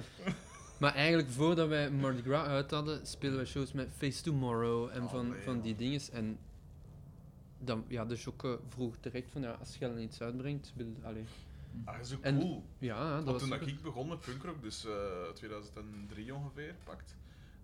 Speaker 3: Maar eigenlijk, voordat wij Mardi Gras uit hadden, speelden wij shows met Face Tomorrow
Speaker 1: Oh,
Speaker 3: en van,
Speaker 4: Allee,
Speaker 3: van die dinges. En dan, ja, de Jokke vroeg direct van, ja, als je al iets uitbrengt, wil... Allee.
Speaker 4: Ah, dat is ook
Speaker 3: En-
Speaker 4: cool.
Speaker 3: Ja, dat
Speaker 4: Want
Speaker 3: was
Speaker 4: toen dat
Speaker 3: super.
Speaker 4: ik begon met punkrock, dus eh, 2003 ongeveer, pakt,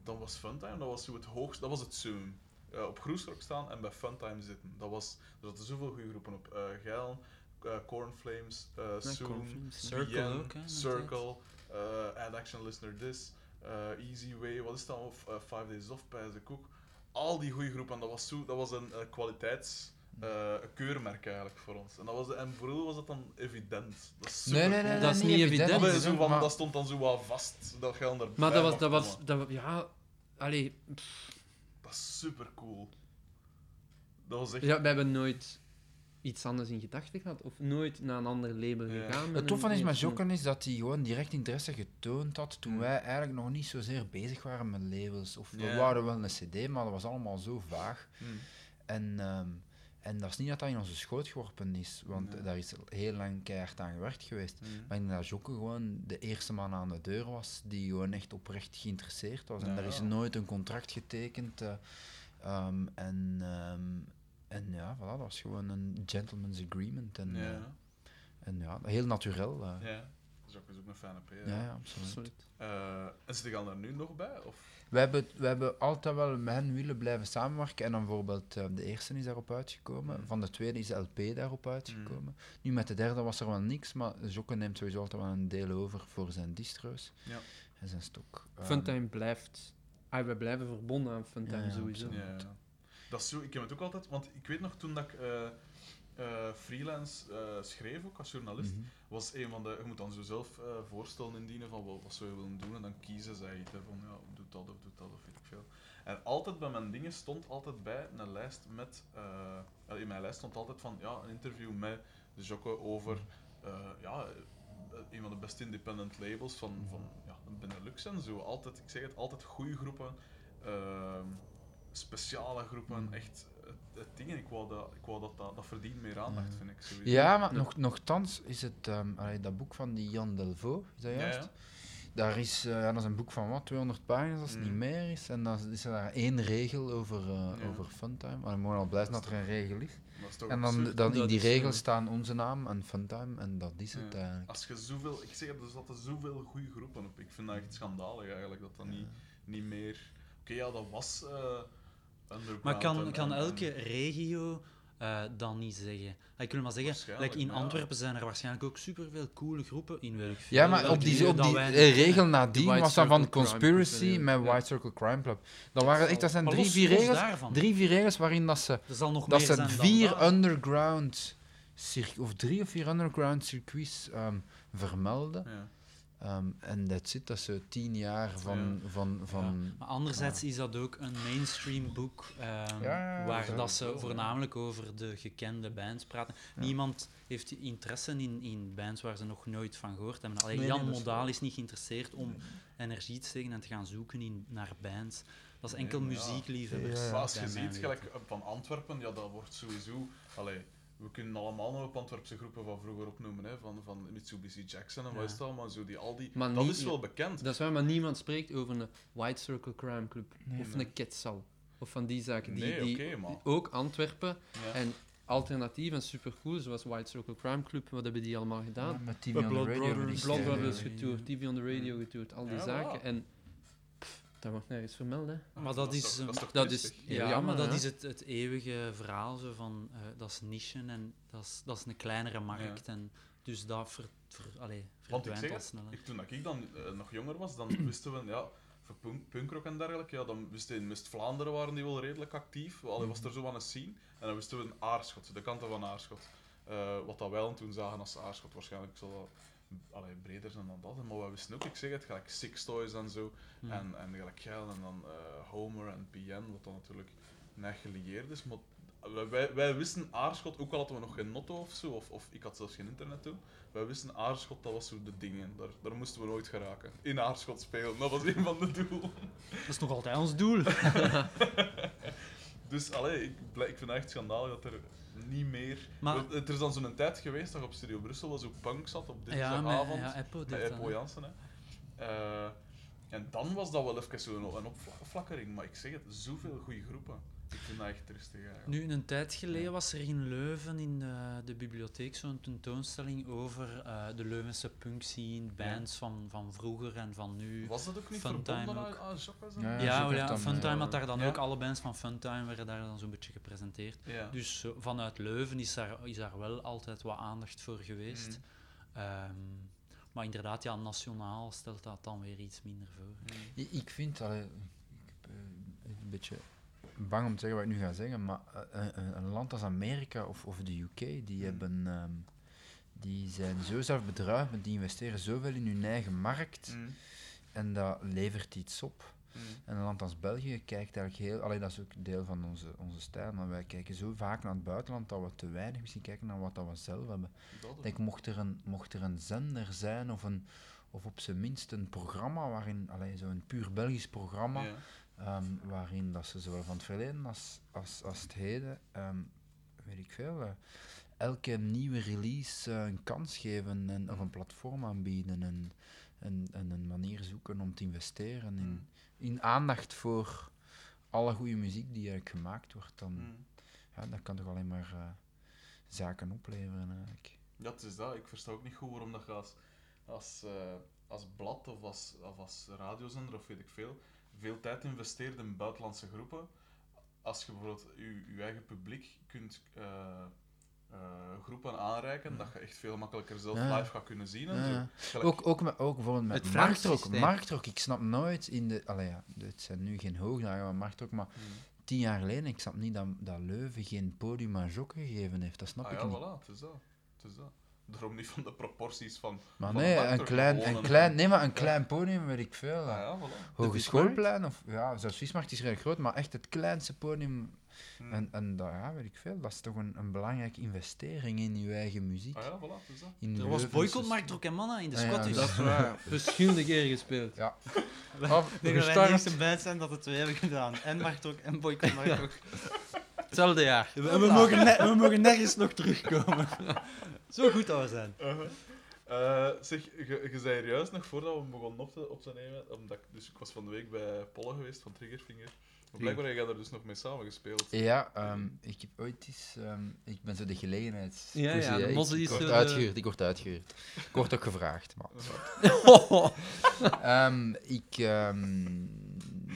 Speaker 4: dan was Funtime, dat was zo het hoogst, dat was het summum. Eh, op Groesrock staan en bij Funtime zitten. Dat was, er zaten zoveel goede groepen op. eh Geil, eh, Cornflames, eh Soon,
Speaker 2: Circle
Speaker 4: Bien,
Speaker 2: ook, hè, met
Speaker 4: Circle, eh, Ad Action Listener This, eh, Easy Way, wat is dat? Of eh, Five Days Off, Pijs de Koek. Al die goede groepen, en dat was, zo, dat was een eh, kwaliteits... eh, keurmerk eigenlijk voor ons. En, dat was de, en voor Roel was dat dan evident. Dat is super
Speaker 1: Nee, nee, nee,
Speaker 4: cool.
Speaker 1: nee,
Speaker 3: Dat is niet evident.
Speaker 4: Maar
Speaker 3: Ja,
Speaker 4: zo van,
Speaker 1: maar-
Speaker 4: dat stond dan zo wat vast. Dat geld erbij
Speaker 3: Maar dat was,
Speaker 4: mag
Speaker 3: dat was,
Speaker 4: komen.
Speaker 3: dat was- ja, allee,
Speaker 4: Dat is super cool. Dat was echt.
Speaker 3: ja, we hebben nooit iets anders in gedachten gehad of nooit naar een ander label
Speaker 4: Ja.
Speaker 3: gegaan. met
Speaker 1: Het tof
Speaker 3: een-
Speaker 1: van is
Speaker 3: nee,
Speaker 1: met
Speaker 3: zo'n-
Speaker 1: Jokken is dat hij gewoon direct interesse getoond had toen
Speaker 4: Mm.
Speaker 1: wij eigenlijk nog niet zozeer bezig waren met labels. Of we
Speaker 4: Ja.
Speaker 1: waren wel een cd, maar dat was allemaal zo vaag.
Speaker 4: Hm.
Speaker 1: En, ehm, en dat is niet dat dat in onze schoot geworpen is, want
Speaker 4: Nee.
Speaker 1: daar is heel lang keihard aan gewerkt geweest. Maar ik denk dat Jokke gewoon de eerste man aan de deur was die gewoon echt oprecht geïnteresseerd was. En
Speaker 4: Ja.
Speaker 1: daar is nooit een contract getekend. eh, ehm, en, ehm, en ja, voilà, dat was gewoon een gentleman's agreement. En ja,
Speaker 4: Ja,
Speaker 1: en ja heel natuurlijk.
Speaker 4: ja. Dus Dat is ook, dat is ook een fijne P. ja.
Speaker 1: Ja, ja, absoluut.
Speaker 3: Absoluut.
Speaker 4: Eh, en ze gaan daar nu nog bij? Of?
Speaker 1: We hebben, we hebben altijd wel met hen willen blijven samenwerken. En dan bijvoorbeeld eh, de eerste is daarop uitgekomen.
Speaker 4: Mm.
Speaker 1: Van de tweede is de LP daarop uitgekomen. Nu met de derde was er wel niks. Maar Jokke neemt sowieso altijd wel een deel over voor zijn distro's.
Speaker 4: Ja.
Speaker 1: En zijn stok. Ehm,
Speaker 3: Funtime blijft, ah, wij blijven verbonden aan Funtime
Speaker 1: Ja, ja,
Speaker 3: sowieso.
Speaker 1: absoluut.
Speaker 4: Ja. Dat is zo, ik heb het ook altijd, want ik weet nog toen dat ik eh, eh, freelance eh, schreef, ook als journalist,
Speaker 1: mhm.
Speaker 4: was een van de. Je moet dan zo zelf eh, voorstellen indienen van wat, wat zou je willen doen. En dan kiezen zij iets hè, van ja, doe dat of doe dat of weet ik veel. En altijd bij mijn dingen stond altijd bij een lijst met. eh, wel, in mijn lijst stond altijd van ja, een interview met de Jocke over eh, ja, eh, een van de beste independent labels van, van ja, Benelux en zo. Altijd, ik zeg het, altijd goede groepen. ehm, speciale groepen,
Speaker 1: Hmm.
Speaker 4: echt het, het ding. En ik wou dat, ik wou dat, dat, dat verdient meer aandacht,
Speaker 1: Ja.
Speaker 4: vind ik. Sowieso.
Speaker 1: Ja, maar
Speaker 3: Ja.
Speaker 1: nog, nogthans is het ehm, allee, dat boek van die Jan Delvaux, is dat
Speaker 4: Ja,
Speaker 1: juist?
Speaker 4: ja.
Speaker 1: Daar is, eh, ja, dat is een boek van wat, 200 pagina's als het
Speaker 4: Mm.
Speaker 1: niet meer is. En dan is er daar één regel over, eh,
Speaker 4: Ja.
Speaker 1: over Funtime. Maar we mogen al blij zijn dat er een regel is.
Speaker 4: Dat is toch
Speaker 1: En dan,
Speaker 4: absurd.
Speaker 1: dan in
Speaker 3: Dat
Speaker 1: die
Speaker 3: is, eh,
Speaker 1: regels staan onze naam en Funtime en dat is het
Speaker 4: Ja.
Speaker 1: eigenlijk.
Speaker 4: Als je zoveel, ik zeg het, er zaten zoveel goede groepen op. Ik vind dat echt schandalig eigenlijk, dat dat niet, niet meer. Oké, ja, dat was. eh underground
Speaker 2: Maar
Speaker 4: en-
Speaker 2: kan, kan
Speaker 4: en-
Speaker 2: elke
Speaker 4: en-
Speaker 2: regio eh dan niet zeggen? Ah, Ik wil maar zeggen,
Speaker 4: Waarschijnlijk,
Speaker 2: like in
Speaker 4: ja.
Speaker 2: Antwerpen zijn er waarschijnlijk ook superveel coole groepen in welk
Speaker 1: Ja,
Speaker 2: veel
Speaker 1: maar
Speaker 2: welk
Speaker 1: op die,
Speaker 2: milieu
Speaker 1: op
Speaker 2: dat
Speaker 1: die
Speaker 2: wij-
Speaker 1: eh, regel nadien
Speaker 3: White
Speaker 1: was dat van
Speaker 3: Circle Crime
Speaker 1: Conspiracy
Speaker 3: Club,
Speaker 1: met
Speaker 3: ja.
Speaker 1: White Circle Crime Club. Dat, waren echt, dat zijn
Speaker 2: Maar
Speaker 1: drie,
Speaker 2: los-
Speaker 1: vier
Speaker 2: los
Speaker 1: regels,
Speaker 2: daarvan.
Speaker 1: drie, vier regels waarin dat ze
Speaker 2: Er zal nog
Speaker 1: Dat
Speaker 2: meer
Speaker 1: zijn
Speaker 2: dan
Speaker 1: vier
Speaker 2: dat.
Speaker 1: underground, cir- of drie of vier underground circuits ehm, vermelden.
Speaker 4: Ja.
Speaker 1: Ehm, en dat zit, dat ze tien jaar van. van, van
Speaker 2: Maar anderzijds is dat ook een mainstream boek ehm,
Speaker 1: ja,
Speaker 2: waar
Speaker 1: dat
Speaker 2: dat,
Speaker 4: is
Speaker 2: ze
Speaker 4: wel, ja.
Speaker 2: voornamelijk over de gekende bands praten.
Speaker 1: Ja.
Speaker 2: Niemand heeft interesse in, in bands waar ze nog nooit van gehoord hebben. Allee,
Speaker 1: Nee, nee,
Speaker 2: Jan
Speaker 1: dat is
Speaker 2: Modaal
Speaker 1: waar.
Speaker 2: is niet geïnteresseerd om energie te steken en te gaan zoeken in, naar bands. Dat is
Speaker 4: Nee,
Speaker 2: enkel
Speaker 4: maar ja.
Speaker 2: muziekliefhebbers.
Speaker 1: Ja, ja.
Speaker 4: Maar als je
Speaker 2: bij mij
Speaker 4: ziet,
Speaker 2: weten.
Speaker 4: gelijk eh, van Antwerpen, ja, dat wordt sowieso. Allee, we kunnen allemaal nog op Antwerpse groepen van vroeger opnoemen, hè, van, van Mitsubishi Jackson en
Speaker 2: Ja.
Speaker 4: wat is dat, maar zo die al die.
Speaker 3: Maar
Speaker 4: dat
Speaker 3: niet-
Speaker 4: is wel bekend.
Speaker 3: Dat is waar, maar niemand spreekt over een White Circle Crime Club of
Speaker 4: nee.
Speaker 3: een Quetzal. Of van die zaken. Die,
Speaker 4: nee,
Speaker 3: die
Speaker 4: oké, maar.
Speaker 3: ook Antwerpen
Speaker 4: Ja.
Speaker 3: en alternatief en supercool, zoals White Circle Crime Club, wat hebben die allemaal gedaan?
Speaker 1: Met TV
Speaker 2: Bij
Speaker 1: on the
Speaker 2: Blood
Speaker 1: radio. hebben die
Speaker 2: Brothers.
Speaker 1: sterren.
Speaker 3: Blood
Speaker 2: Ja,
Speaker 3: Brothers
Speaker 2: ja, ja.
Speaker 3: getoerd, TV on the radio getoerd, al die
Speaker 4: Ja,
Speaker 3: zaken.
Speaker 4: voilà.
Speaker 3: En pff, dat wordt nergens vermeld, hè.
Speaker 2: Maar dat is,
Speaker 4: toch-
Speaker 2: ehm,
Speaker 4: toch
Speaker 3: dat
Speaker 4: triestig?
Speaker 3: is-
Speaker 2: Ja,
Speaker 3: Ja, jammer,
Speaker 2: maar dat
Speaker 3: hè?
Speaker 2: is het, het eeuwige verhaal zo van eh, dat is nichen en dat is, dat is een kleinere markt. En dus dat ver, ver- allee, verdwijnt
Speaker 4: zeg
Speaker 2: al
Speaker 4: het,
Speaker 2: sneller.
Speaker 4: Ik, toen dat ik dan eh, nog jonger was, dan wisten we, ja, voor punk, punkrock en dergelijke, ja, dan wisten we in West-Vlaanderen waren die wel redelijk actief. Allee, was er zo aan een scene. En dan wisten we een aarschot, de kanten van aarschot. Eh, wat dat wij dan toen zagen als aarschot, waarschijnlijk zal dat allee, breder zijn dan dat. Maar wij wisten ook, ik zeg het, gelijk Six Toys en zo.
Speaker 2: Mm.
Speaker 4: En, en gelijk Geil en dan eh, Homer en PN, wat dan natuurlijk net gelieerd is. Maar wij- wij, wij wisten aarschot, ook al hadden we nog geen notto of zo, of, of ik had zelfs geen internet toen. Wij wisten aarschot, dat was zo de dingen. Daar, daar moesten we nooit geraken. In aarschot spelen, dat was een van de doelen.
Speaker 2: Dat is nog altijd ons doel.
Speaker 4: Dus allee, ik, blij- ik vind het echt schandalig dat er niet meer.
Speaker 2: Maar-
Speaker 4: Want het er is dan zo'n tijd geweest dat op Studio Brussel was ook punk zat op
Speaker 2: ja,
Speaker 4: dinsdagavond.
Speaker 2: ja, Apple deed
Speaker 4: met
Speaker 2: dat,
Speaker 4: Eppo
Speaker 2: hè.
Speaker 4: Jansen. Hè. Eh, en dan was dat wel even zo'n een opflakkering. Maar ik zeg het, zoveel goede groepen. Ik vind dat echt tristig. eigenlijk.
Speaker 2: Nu, een tijd geleden was er in Leuven in de, de bibliotheek zo'n tentoonstelling over eh, de Leuvense punk scene, bands van, van vroeger en van nu.
Speaker 4: Was dat ook niet
Speaker 2: Funtime
Speaker 4: verbonden
Speaker 2: ook.
Speaker 4: aan, aan Jacques?
Speaker 1: Ja,
Speaker 4: en-
Speaker 2: ja,
Speaker 1: zo
Speaker 2: wel,
Speaker 1: werd
Speaker 2: ja
Speaker 1: dan,
Speaker 2: Funtime
Speaker 1: eh,
Speaker 2: had daar dan
Speaker 4: ja.
Speaker 2: ook, alle bands van Funtime werden daar dan zo'n beetje gepresenteerd.
Speaker 4: ja.
Speaker 2: Dus eh, vanuit Leuven is daar, is daar wel altijd wat aandacht voor geweest.
Speaker 4: Mm.
Speaker 2: Ehm, maar inderdaad, ja, nationaal stelt dat dan weer iets minder voor.
Speaker 1: I- Ik vind dat. eh, Ik ben een beetje bang om te zeggen wat ik nu ga zeggen, maar eh, een- een, een land als Amerika of, of de UK, die
Speaker 4: Hmm.
Speaker 1: hebben. ehm, die zijn zo zelfbedruipend, die investeren zoveel in hun eigen markt
Speaker 4: Mm.
Speaker 1: en dat levert iets op.
Speaker 4: Mm.
Speaker 1: En een land als België kijkt eigenlijk heel. Alleen dat is ook deel van onze, onze stijl, maar wij kijken zo vaak naar het buitenland dat we te weinig misschien kijken naar wat dat we zelf hebben.
Speaker 4: Dat
Speaker 1: Ik denk, mocht er een, mocht er een zender zijn of, een, of op zijn minst een programma waarin, allee, zo'n puur Belgisch programma,
Speaker 4: Ja.
Speaker 1: ehm, waarin dat ze zowel van het verleden als, als, als het heden, ehm, weet ik veel, eh, elke nieuwe release eh, een kans geven en, of een platform aanbieden en, en, en een manier zoeken om te investeren in,
Speaker 4: Mm.
Speaker 1: in aandacht voor alle goede muziek die eigenlijk gemaakt wordt, dan
Speaker 4: Mm.
Speaker 1: ja, dat kan toch alleen maar eh, zaken opleveren eigenlijk.
Speaker 4: Ja, het is dat. Ik versta ook niet goed waarom dat je als, als, eh, als blad of als, of als radiozender of weet ik veel, veel tijd investeert in buitenlandse groepen. Als je bijvoorbeeld je, je eigen publiek kunt eh, eh, groepen aanreiken, dat je echt veel makkelijker zelf
Speaker 1: Ja.
Speaker 4: live gaat kunnen zien. En
Speaker 1: Ja,
Speaker 4: zo.
Speaker 1: ja.
Speaker 4: Gelijk-
Speaker 1: Ook, ook, met, ook bijvoorbeeld met
Speaker 3: Het
Speaker 1: marktrock.
Speaker 3: vraagsysteem.
Speaker 1: Marktrock, ik snap nooit in de... Allee, ja, het zijn nu geen hoogdagen van marktrock, maar
Speaker 4: Hmm.
Speaker 1: tien jaar geleden, ik snap niet dat, dat Leuven geen podium aan Jokke gegeven heeft. Dat snap
Speaker 4: Ah
Speaker 1: ik
Speaker 4: ja,
Speaker 1: niet.
Speaker 4: voilà, het is dat. Het is dat. Daarom niet van de proporties van...
Speaker 1: Maar
Speaker 4: van
Speaker 1: nee,
Speaker 4: Marktrock
Speaker 1: een klein,
Speaker 4: gewoon
Speaker 1: een
Speaker 4: een-
Speaker 1: klein, nee, maar een klein podium, weet ik veel.
Speaker 4: Ah
Speaker 1: hè.
Speaker 4: ja, voilà.
Speaker 1: Hogeschoolplein, of ja, zelfs Wiesmarkt is redelijk groot, maar echt het kleinste podium.
Speaker 4: Hmm.
Speaker 1: En, en dat, ja, weet ik veel, dat is toch een, een belangrijke investering in je eigen muziek.
Speaker 4: Ah ja, voilà, het is dat.
Speaker 1: In
Speaker 2: Er was
Speaker 1: Leuvense
Speaker 2: boycott Mark Drok en Manna in de
Speaker 1: Ah, ja,
Speaker 2: Scottish.
Speaker 1: dat
Speaker 3: Dat is waar. Verschillende keren gespeeld.
Speaker 1: Af-
Speaker 2: Ik denk dat wij de
Speaker 1: gestart.
Speaker 2: eerste band zijn dat het twee hebben gedaan. En Mark Drok en boycott Mark Drok.
Speaker 3: Hetzelfde jaar.
Speaker 2: We, we mogen ne- we mogen nergens nog terugkomen. Zo goed dat we zijn.
Speaker 4: Uh-huh. Eh, zeg, je je zei er juist nog voordat we begonnen op te, op te nemen, omdat ik, dus ik was van de week bij Polle geweest van Triggerfinger. Maar blijkbaar heb jij daar dus nog mee samengespeeld.
Speaker 1: Ja, ehm, ik heb ooit eens. ehm, ik ben zo de gelegenheid.
Speaker 3: Ja, ja, de
Speaker 1: ik,
Speaker 3: mozzie
Speaker 1: ik
Speaker 3: is
Speaker 1: word
Speaker 3: zo de-
Speaker 1: uitgehuurd. Ik word uitgehuurd. Ik word ook gevraagd. Maar. Ehm, ik ehm,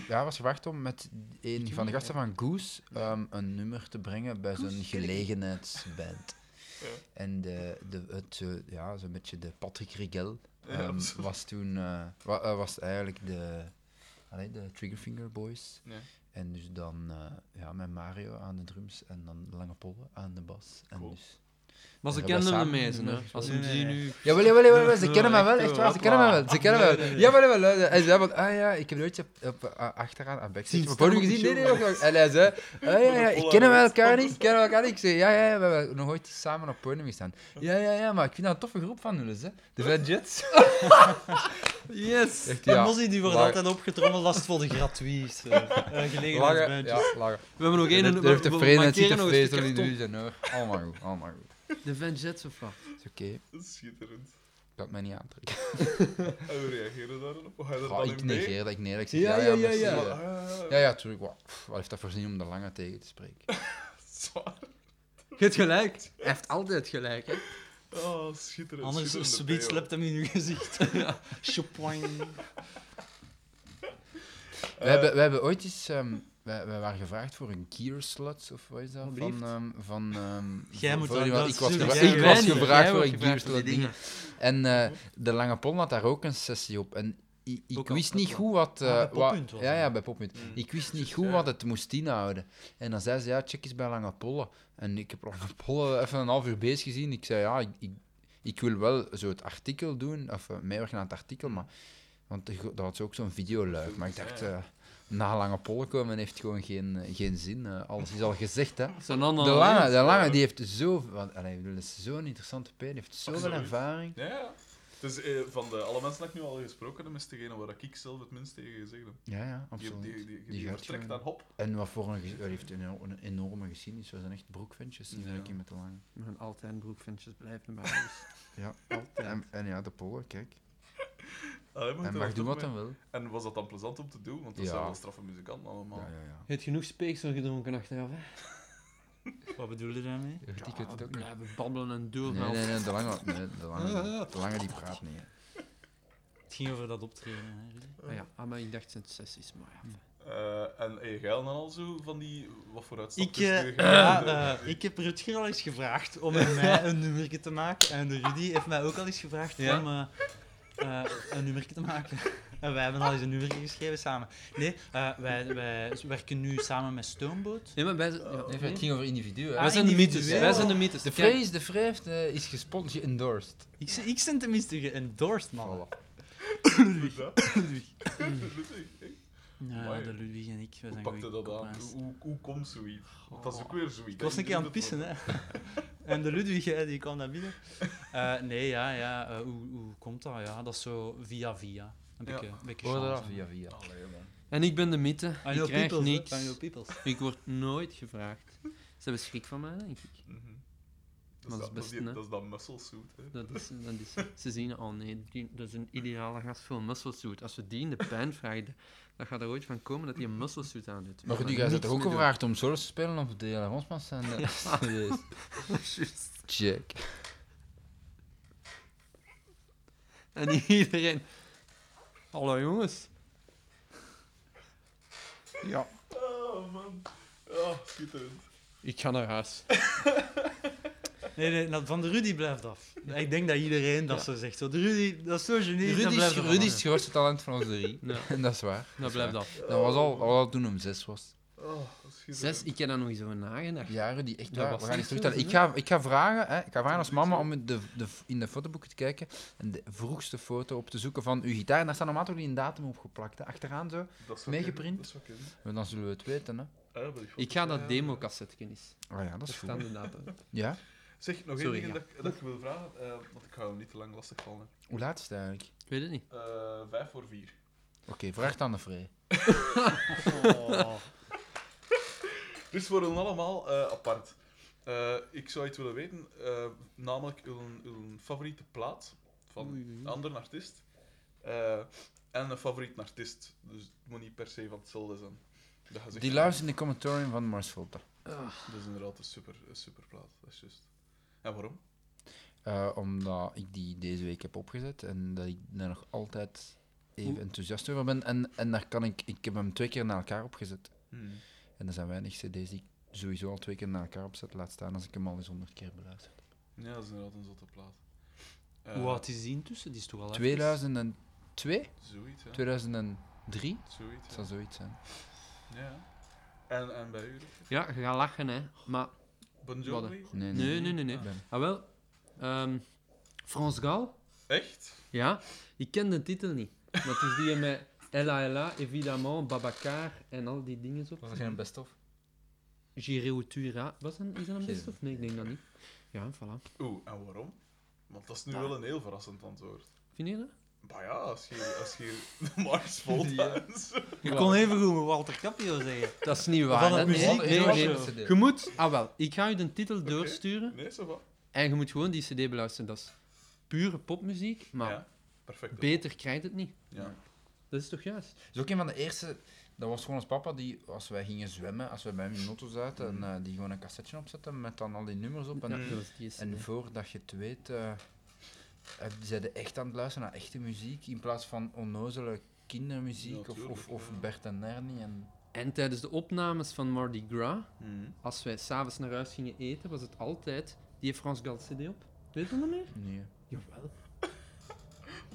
Speaker 1: ja, was gevraagd om met een van de gasten van Goose ehm, een nummer te brengen bij zo'n gelegenheidsband.
Speaker 4: Ja.
Speaker 1: En de, de, het, eh, ja, zo'n beetje de Patrick Rigel
Speaker 4: Ja,
Speaker 1: ehm,
Speaker 4: zo.
Speaker 1: was toen eh, wa- eh, was eigenlijk de, allee, de Triggerfinger Boys.
Speaker 4: Ja.
Speaker 1: En dus dan eh, ja, met Mario aan de drums en dan Lange Polle aan de bas. En
Speaker 4: Cool.
Speaker 1: dus...
Speaker 3: Maar ze
Speaker 1: Ja,
Speaker 3: kenden
Speaker 1: wij
Speaker 3: me
Speaker 1: samen
Speaker 3: mezen, hè.
Speaker 1: doen
Speaker 3: Als ze
Speaker 2: dat.
Speaker 3: hem zien
Speaker 2: Nee,
Speaker 3: nu...
Speaker 1: Jawel, jawel, jawel, jawel, ze
Speaker 3: Ja,
Speaker 1: kennen mij wel,
Speaker 3: echt
Speaker 1: echt
Speaker 3: wel,
Speaker 1: waar, ze kennen mij wel, ze kennen mij wel.
Speaker 3: Nee, nee,
Speaker 1: Jawel, jawel, eh, hij zei van, ah ja, ik heb nooit op, op, eh, achteraan, aan backstage,
Speaker 3: Zien
Speaker 1: maar voor u
Speaker 3: staan op
Speaker 1: gezien, nee,
Speaker 3: de
Speaker 1: nee, nog, nog. En hij zei, ah ja, ja, ik kennen we elkaar niet, kennen we elkaar niet. Ik zei, ja, ja, ja, we hebben nog ooit samen op podium gestaan. Ja, ja, ja, maar ik vind dat een toffe groep van jullie, hè. De Red Jets.
Speaker 3: Yes!
Speaker 1: Echt,
Speaker 2: Ja,
Speaker 1: ja.
Speaker 2: Mossi die wordt
Speaker 1: Laag-
Speaker 2: altijd opgetrommeld als het voor de gratuit. Uh,
Speaker 1: Lachen,
Speaker 2: gelegenheidsbandje.
Speaker 1: ja, lachen.
Speaker 3: We hebben nog één...
Speaker 1: Dat heeft de
Speaker 3: we
Speaker 1: vreemde
Speaker 3: markeren
Speaker 1: zitten
Speaker 3: nog een
Speaker 1: feesten
Speaker 3: stukje
Speaker 1: in
Speaker 3: karton.
Speaker 1: de zijn hoor. Allemaal goed, allemaal goed.
Speaker 3: De Van Jets of wat?
Speaker 1: Het is oké, ik
Speaker 4: Schitterend.
Speaker 1: kan het mij niet aantrekken.
Speaker 4: En hoe reageren daarop? Hoe ga je er
Speaker 1: Goh,
Speaker 4: dan
Speaker 1: ik
Speaker 4: in mee?
Speaker 1: negeer dat, ik negeer dat. Ik zeg,
Speaker 3: Ja,
Speaker 1: ja, ja,
Speaker 3: ja, ja,
Speaker 1: merci,
Speaker 3: ja.
Speaker 4: Ah,
Speaker 1: eh.
Speaker 4: ja, ja, ja.
Speaker 1: Ja, ja, natuurlijk. Wat heeft dat voorzien om de lange tegen te spreken?
Speaker 4: Zwaar.
Speaker 3: Je hebt gelijk. Hij heeft altijd gelijk, hè.
Speaker 4: Oh, schitterend.
Speaker 2: Anders
Speaker 4: schitterende
Speaker 2: Sweet
Speaker 4: Theo.
Speaker 2: slept hem in uw gezicht. Chopoing.
Speaker 1: We,
Speaker 4: Eh.
Speaker 1: hebben, we hebben ooit eens... ehm, wij, wij waren gevraagd voor een gear slot, of wat is dat?
Speaker 3: Alblieft.
Speaker 1: Van... ehm, van ehm,
Speaker 2: Jij
Speaker 1: van-
Speaker 2: moet
Speaker 1: van-
Speaker 2: dat-
Speaker 1: ik
Speaker 2: dat
Speaker 1: was,
Speaker 2: zullen
Speaker 1: gevra-
Speaker 2: jij
Speaker 1: ik was
Speaker 2: weten.
Speaker 1: gevraagd
Speaker 3: Jij
Speaker 1: voor
Speaker 3: wordt
Speaker 1: een gear
Speaker 3: gevraagd voor die
Speaker 1: slot ding. En eh, de Lange Pol had daar ook een sessie op. En ik, ik
Speaker 2: Ook al-
Speaker 1: wist
Speaker 2: dat
Speaker 1: niet
Speaker 2: wel.
Speaker 1: goed wat... eh,
Speaker 2: Ah, bij
Speaker 1: wat-
Speaker 2: Poppunt was
Speaker 1: ja,
Speaker 2: dat.
Speaker 1: ja, bij Poppunt.
Speaker 4: Mm.
Speaker 1: Ik wist niet
Speaker 4: Ja.
Speaker 1: goed wat het moest inhouden. En dan zei ze, ja, check eens bij Lange Pollen. En ik heb Lange Pollen even een half uur bezig gezien. Ik zei, ja, ik, ik, ik wil wel zo het artikel doen, of eh, meewerken aan het artikel, maar... Want de go- dat had ze ook zo'n videoluik. Maar ik dacht,
Speaker 4: Ja, ja.
Speaker 1: eh, na Lange Pollen komen heeft gewoon geen, eh, geen zin. eh, alles is al gezegd, hè.
Speaker 3: Zo'n ander...
Speaker 1: De lange, de
Speaker 4: ja.
Speaker 1: lange die heeft zo, want, allee, ik bedoel, dat is zo'n interessante pijn, die heeft zoveel
Speaker 4: Absoluut.
Speaker 1: ervaring.
Speaker 4: Ja, ja. Dus eh, van de, alle mensen die ik nu al gesproken heb, is degene waar ik zelf het minst tegen gezegd heb.
Speaker 1: Ja, ja,
Speaker 4: Die,
Speaker 1: absoluut.
Speaker 4: die, die, die,
Speaker 1: Die gaat
Speaker 4: vertrekt
Speaker 1: gewoon.
Speaker 4: dan hop.
Speaker 1: En wat voor een, ge- hij heeft een, eno- een enorme geschiedenis, we zijn echt broekventjes in
Speaker 4: Ja.
Speaker 1: vergelijking met de lange.
Speaker 3: We gaan altijd broekventjes blijven bij ons.
Speaker 1: Ja, en, en ja, de pollen, kijk.
Speaker 4: Allee, maar
Speaker 1: Hij
Speaker 4: daar
Speaker 1: mag doen
Speaker 4: toch
Speaker 1: wat
Speaker 4: mee.
Speaker 1: hij wil.
Speaker 4: En was dat dan plezant om te doen? Want dat
Speaker 1: Ja.
Speaker 4: zijn wel straffe muzikanten allemaal.
Speaker 1: Ja, ja, ja.
Speaker 3: Je hebt genoeg speeksel gedronken achteraf, hè.
Speaker 2: Wat bedoel je daarmee?
Speaker 1: Weet ik het ook niet.
Speaker 3: blijven babbelen en doorgaan.
Speaker 1: Nee, nee, nee, de lange, nee, de lange, de lange die praat niet. hè.
Speaker 2: Het ging over dat optreden. hè, Rudy.
Speaker 3: Ah, ja. ah, maar ik dacht, het zijn sessies, maar ja.
Speaker 4: Eh, en hey, jij dan al zo van die... Wat voor uitstapjes?
Speaker 2: Ik, eh,
Speaker 4: doe jij?
Speaker 2: ja, eh, ik heb Rutger al eens gevraagd om met mij een nummerke te maken. En Rudy heeft mij ook al eens gevraagd
Speaker 3: Ja?
Speaker 2: om eh, eh, een nummerke te maken. En wij hebben al eens een nummerke geschreven samen. Nee, eh, wij, wij werken nu samen met Stoomboot.
Speaker 3: Nee, maar wij zijn... ja,
Speaker 1: Oh, Nee,
Speaker 3: nee.
Speaker 1: het ging over individuen.
Speaker 3: Wij
Speaker 2: Ah,
Speaker 1: hè.
Speaker 3: zijn de mythes.
Speaker 2: individueel.
Speaker 3: Wij zijn de mythes.
Speaker 1: De
Speaker 3: Kijk,
Speaker 1: vrees, de vrees eh, is gesponsord, geëndorsed.
Speaker 2: Ik, z- ik ben tenminste geëndorsed, man.
Speaker 1: Voilà.
Speaker 4: Doe dat.
Speaker 2: Ludwig.
Speaker 4: Ludwig, hey,
Speaker 2: Ja,
Speaker 4: Amai.
Speaker 2: de Ludwig en ik, wij
Speaker 4: Hoe
Speaker 2: zijn
Speaker 4: pakte
Speaker 2: goeie Oh.
Speaker 4: dat aan?
Speaker 2: kopmaats.
Speaker 4: Hoe, hoe komt zoiets? Want dat is ook weer zoiets.
Speaker 2: Ik was een keer aan het pissen, hè. En de Ludwig, hè, die kwam naar binnen. Eh, nee, ja, ja. eh, hoe, hoe komt dat? Ja, dat is zo via via. Een
Speaker 4: Ja.
Speaker 2: beetje, een beetje
Speaker 1: Hoor dat
Speaker 2: chance.
Speaker 1: via via.
Speaker 4: Allee, man.
Speaker 3: En ik ben de mythe.
Speaker 2: Van
Speaker 3: ik
Speaker 2: jouw
Speaker 3: krijg
Speaker 2: peoples, hè,
Speaker 3: niks.
Speaker 2: Van jouw peoples.
Speaker 3: Ik word nooit gevraagd. Ze hebben schrik van mij, denk ik.
Speaker 4: Mhm. Dat,
Speaker 3: Maar
Speaker 4: is
Speaker 3: dat is
Speaker 4: dat, dat,
Speaker 3: best,
Speaker 4: die-
Speaker 3: hè.
Speaker 4: dat is dat muscle suit, hè.
Speaker 3: Dat is, dat is, ze zien, oh nee, die- dat is een ideale gast voor een musselsuit. Als we die in de pijn vragen, dan gaat er ooit van komen dat hij een musselsuit aan doet.
Speaker 1: Maar
Speaker 3: We
Speaker 1: goed, jij
Speaker 3: gaan
Speaker 1: bent
Speaker 3: niks
Speaker 1: ook
Speaker 3: mee doen.
Speaker 1: gevraagd om solo te spelen op de Ronsmans en de... Serieus.
Speaker 3: Juist.
Speaker 1: Check.
Speaker 3: En iedereen... Hallo jongens. Ja,
Speaker 4: Oh, man. Oh, schitterend.
Speaker 3: ik ga naar huis.
Speaker 2: Nee, nee, dat- van de Rudy blijft af. Ik denk dat iedereen dat
Speaker 3: Ja.
Speaker 2: zo zegt. Zo, de Rudy, dat is zo genie.
Speaker 1: Rudy
Speaker 2: dat
Speaker 1: is,
Speaker 2: blijft er
Speaker 1: Rudy is
Speaker 2: van
Speaker 1: het grootste talent van ons drie.
Speaker 3: Ja,
Speaker 1: En dat is waar.
Speaker 3: dat blijft dat.
Speaker 1: Dat was al, al toen om zes was.
Speaker 4: Oh, schitterend.
Speaker 3: Zes, ik heb daar nog eens over nagedacht.
Speaker 1: Ja, Rudy, echt
Speaker 3: Dat
Speaker 1: waar.
Speaker 3: was
Speaker 1: We gaan
Speaker 3: niet
Speaker 1: eens
Speaker 3: zo,
Speaker 1: terugtellen.
Speaker 3: hè?
Speaker 1: Ik ga, ik ga vragen, hè, ik ga vragen als
Speaker 4: is
Speaker 1: mama
Speaker 4: zo.
Speaker 1: om de, de, in de fotoboeken te kijken en de vroegste foto op te zoeken van uw gitaar. En daar staat normaal toch die een datum op geplakt, hè, achteraan zo.
Speaker 4: Dat zou
Speaker 1: meegeprint.
Speaker 4: kunnen, Dat zou kunnen.
Speaker 1: Maar dan zullen we het weten, hè.
Speaker 4: Ah, maar die
Speaker 3: Ik ga dat
Speaker 4: foto's-
Speaker 3: democassetje eens.
Speaker 1: Oh ja, dat
Speaker 3: Daar
Speaker 1: is goed.
Speaker 3: staan de data.
Speaker 1: Ja?
Speaker 4: Zeg, nog één
Speaker 3: Sorry,
Speaker 4: ding
Speaker 3: ja.
Speaker 4: dat, ik- dat ik wil vragen, eh, want ik ga hem niet te lang lastig vallen.
Speaker 1: Hoe laat is het eigenlijk?
Speaker 3: Ik weet het niet.
Speaker 4: Eh vijf voor vier.
Speaker 1: Oké, vraag het aan de Frey.
Speaker 2: Oh.
Speaker 4: Dus voor hun allemaal eh, apart. Eh, ik zou iets willen weten, eh, namelijk hun, hun favoriete plaat van
Speaker 3: Oei, oei,
Speaker 4: een
Speaker 3: oei.
Speaker 4: andere artiest. Eh, en een favoriete artiest. Dus het moet niet per se van hetzelfde zijn. Dat je zegt,
Speaker 1: Die luistert in de commentarium van Mars Volta.
Speaker 4: Dat is inderdaad een super, een super plaat. Dat is juist. En waarom?
Speaker 1: Eh, omdat ik die deze week heb opgezet en dat ik daar nog altijd even
Speaker 3: Hoe-
Speaker 1: enthousiast over ben. En, en daar kan ik, ik heb hem twee keer na elkaar opgezet.
Speaker 3: Hmm.
Speaker 1: En er zijn weinig CD's die ik sowieso al twee keer na elkaar opzet, laat staan als ik hem al eens honderd keer beluister.
Speaker 4: Ja, dat is inderdaad een zotte plaat. Eh,
Speaker 2: Hoe oud is die intussen? Die is toch al even-
Speaker 1: 2002?
Speaker 4: Zoiets, hè?
Speaker 1: 2003?
Speaker 4: Zoiets,
Speaker 1: Dat
Speaker 4: ja.
Speaker 1: zou zoiets zijn.
Speaker 4: ja. En, en bij u?
Speaker 3: Ja, je gaat lachen, hè. Maar,
Speaker 4: Bon Jovi?
Speaker 1: Nee, nee.
Speaker 3: nee, nee, nee, nee.
Speaker 1: Ik ben-
Speaker 3: Ah, wel. Ehm Frans Gal?
Speaker 4: Echt?
Speaker 3: Ja. Ik ken de titel niet. Maar het is die met Ella Ella, évidemment, Babacar en al die dingen op.
Speaker 1: Was dat geen best-of?
Speaker 3: J'irai où tu iras. Was dat, is dat een
Speaker 1: Geen
Speaker 3: best of? Nee, ik denk dat niet. Ja, voilà.
Speaker 4: Oeh, en waarom? Want dat is nu
Speaker 3: Ja.
Speaker 4: wel een heel verrassend antwoord.
Speaker 3: Vind je dat?
Speaker 4: Maar ja, als je, als je de Mars vol
Speaker 2: Je kon even goed met Walter Capio zeggen.
Speaker 3: Dat is niet waar.
Speaker 2: Van het
Speaker 3: hè? Nee,
Speaker 2: muziek-
Speaker 3: nee,
Speaker 2: was
Speaker 3: nee.
Speaker 2: je-
Speaker 3: Je moet... Ah, wel. Ik ga u de titel
Speaker 4: Oké.
Speaker 3: doorsturen.
Speaker 4: Nee, zo wat.
Speaker 3: En je moet gewoon die cd beluisteren. Dat is pure popmuziek, maar
Speaker 4: Ja, perfect.
Speaker 3: beter krijgt het niet.
Speaker 4: Ja.
Speaker 3: Dat is toch juist?
Speaker 1: is ook een van de eerste Dat was gewoon ons papa die, als wij gingen zwemmen, als wij bij hem in de auto zaten, en, eh, die gewoon een cassetje opzette met dan al die nummers op. En,
Speaker 3: Ja, dat was die eerste,
Speaker 1: en
Speaker 3: hè.
Speaker 1: voordat je het weet, eh eh, die zeiden echt aan het luisteren naar echte muziek in plaats van onnozele kindermuziek
Speaker 4: Ja,
Speaker 1: of, of,
Speaker 4: tuurlijk,
Speaker 1: of
Speaker 4: ja.
Speaker 1: Bert en Ernie. En,
Speaker 3: En tijdens de opnames van Mardi Gras, als wij s'avonds naar huis gingen eten, was het altijd die Frans Gal CD op. Weet je dat meer?
Speaker 1: nee.
Speaker 3: Jawel.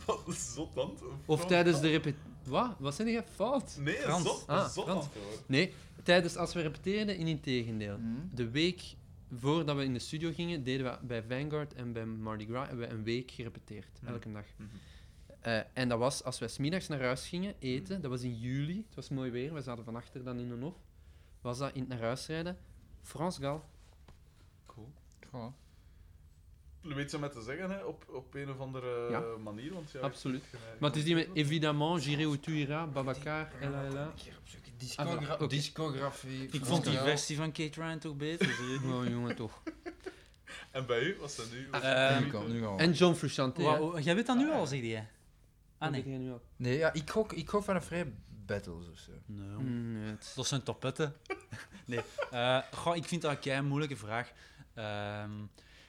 Speaker 4: Wat een zot land.
Speaker 3: Of tijdens de repetitie. Wat? Wat zijn jij fout?
Speaker 4: Nee, een
Speaker 3: Frans.
Speaker 4: zot,
Speaker 3: Ah,
Speaker 4: een zot
Speaker 3: Frans.
Speaker 4: land, hoor.
Speaker 3: Nee, tijdens als we repeteerden, in integendeel. De week voordat we in de studio gingen, deden we bij Vanguard en bij Mardi Gras hebben we een week gerepeteerd,
Speaker 4: Mhm.
Speaker 3: elke dag.
Speaker 4: Mhm.
Speaker 3: Eh, en dat was als we smiddags naar huis gingen eten,
Speaker 2: Mhm.
Speaker 3: dat was in juli, het was mooi weer, we zaten van achter dan in een hof, was dat in het naar huis rijden, Frans Gal.
Speaker 4: Cool.
Speaker 1: Voilà.
Speaker 4: Je weet ze met te zeggen, hè, op, op een of andere
Speaker 3: Ja.
Speaker 4: eh, manier. Want, ja,
Speaker 3: Absoluut.
Speaker 4: je- je-
Speaker 3: Maar het is die met Évidemment, J'irai où tu iras, Babacar, LLA.
Speaker 1: Een keer op zoek.
Speaker 3: Ah,
Speaker 1: Discogra-
Speaker 3: voilà. Oké.
Speaker 1: Discografie.
Speaker 2: Ik
Speaker 1: van
Speaker 2: vond die
Speaker 1: Karel.
Speaker 2: versie van Kate Ryan toch beter. zeg.
Speaker 3: Oh jongen toch.
Speaker 4: En bij u, was dat nu?
Speaker 2: Ah,
Speaker 4: Was-
Speaker 2: ehm,
Speaker 1: Nu kan, nu gaan we.
Speaker 3: En John Frusciante. hè.
Speaker 2: Wauw, jij weet dat nu
Speaker 4: Ah,
Speaker 2: al,
Speaker 4: ja.
Speaker 2: zeg je? Ah
Speaker 3: Dat weet
Speaker 2: nee.
Speaker 3: jij nu al.
Speaker 1: Nee, ja, ik gok, ik gok van een vrij battles of zo.
Speaker 2: Ah, Nee.
Speaker 3: Mm, nee, het-
Speaker 2: Dat zijn topetten. nee. Eh, goh, ik vind dat een moeilijke vraag. Ehm,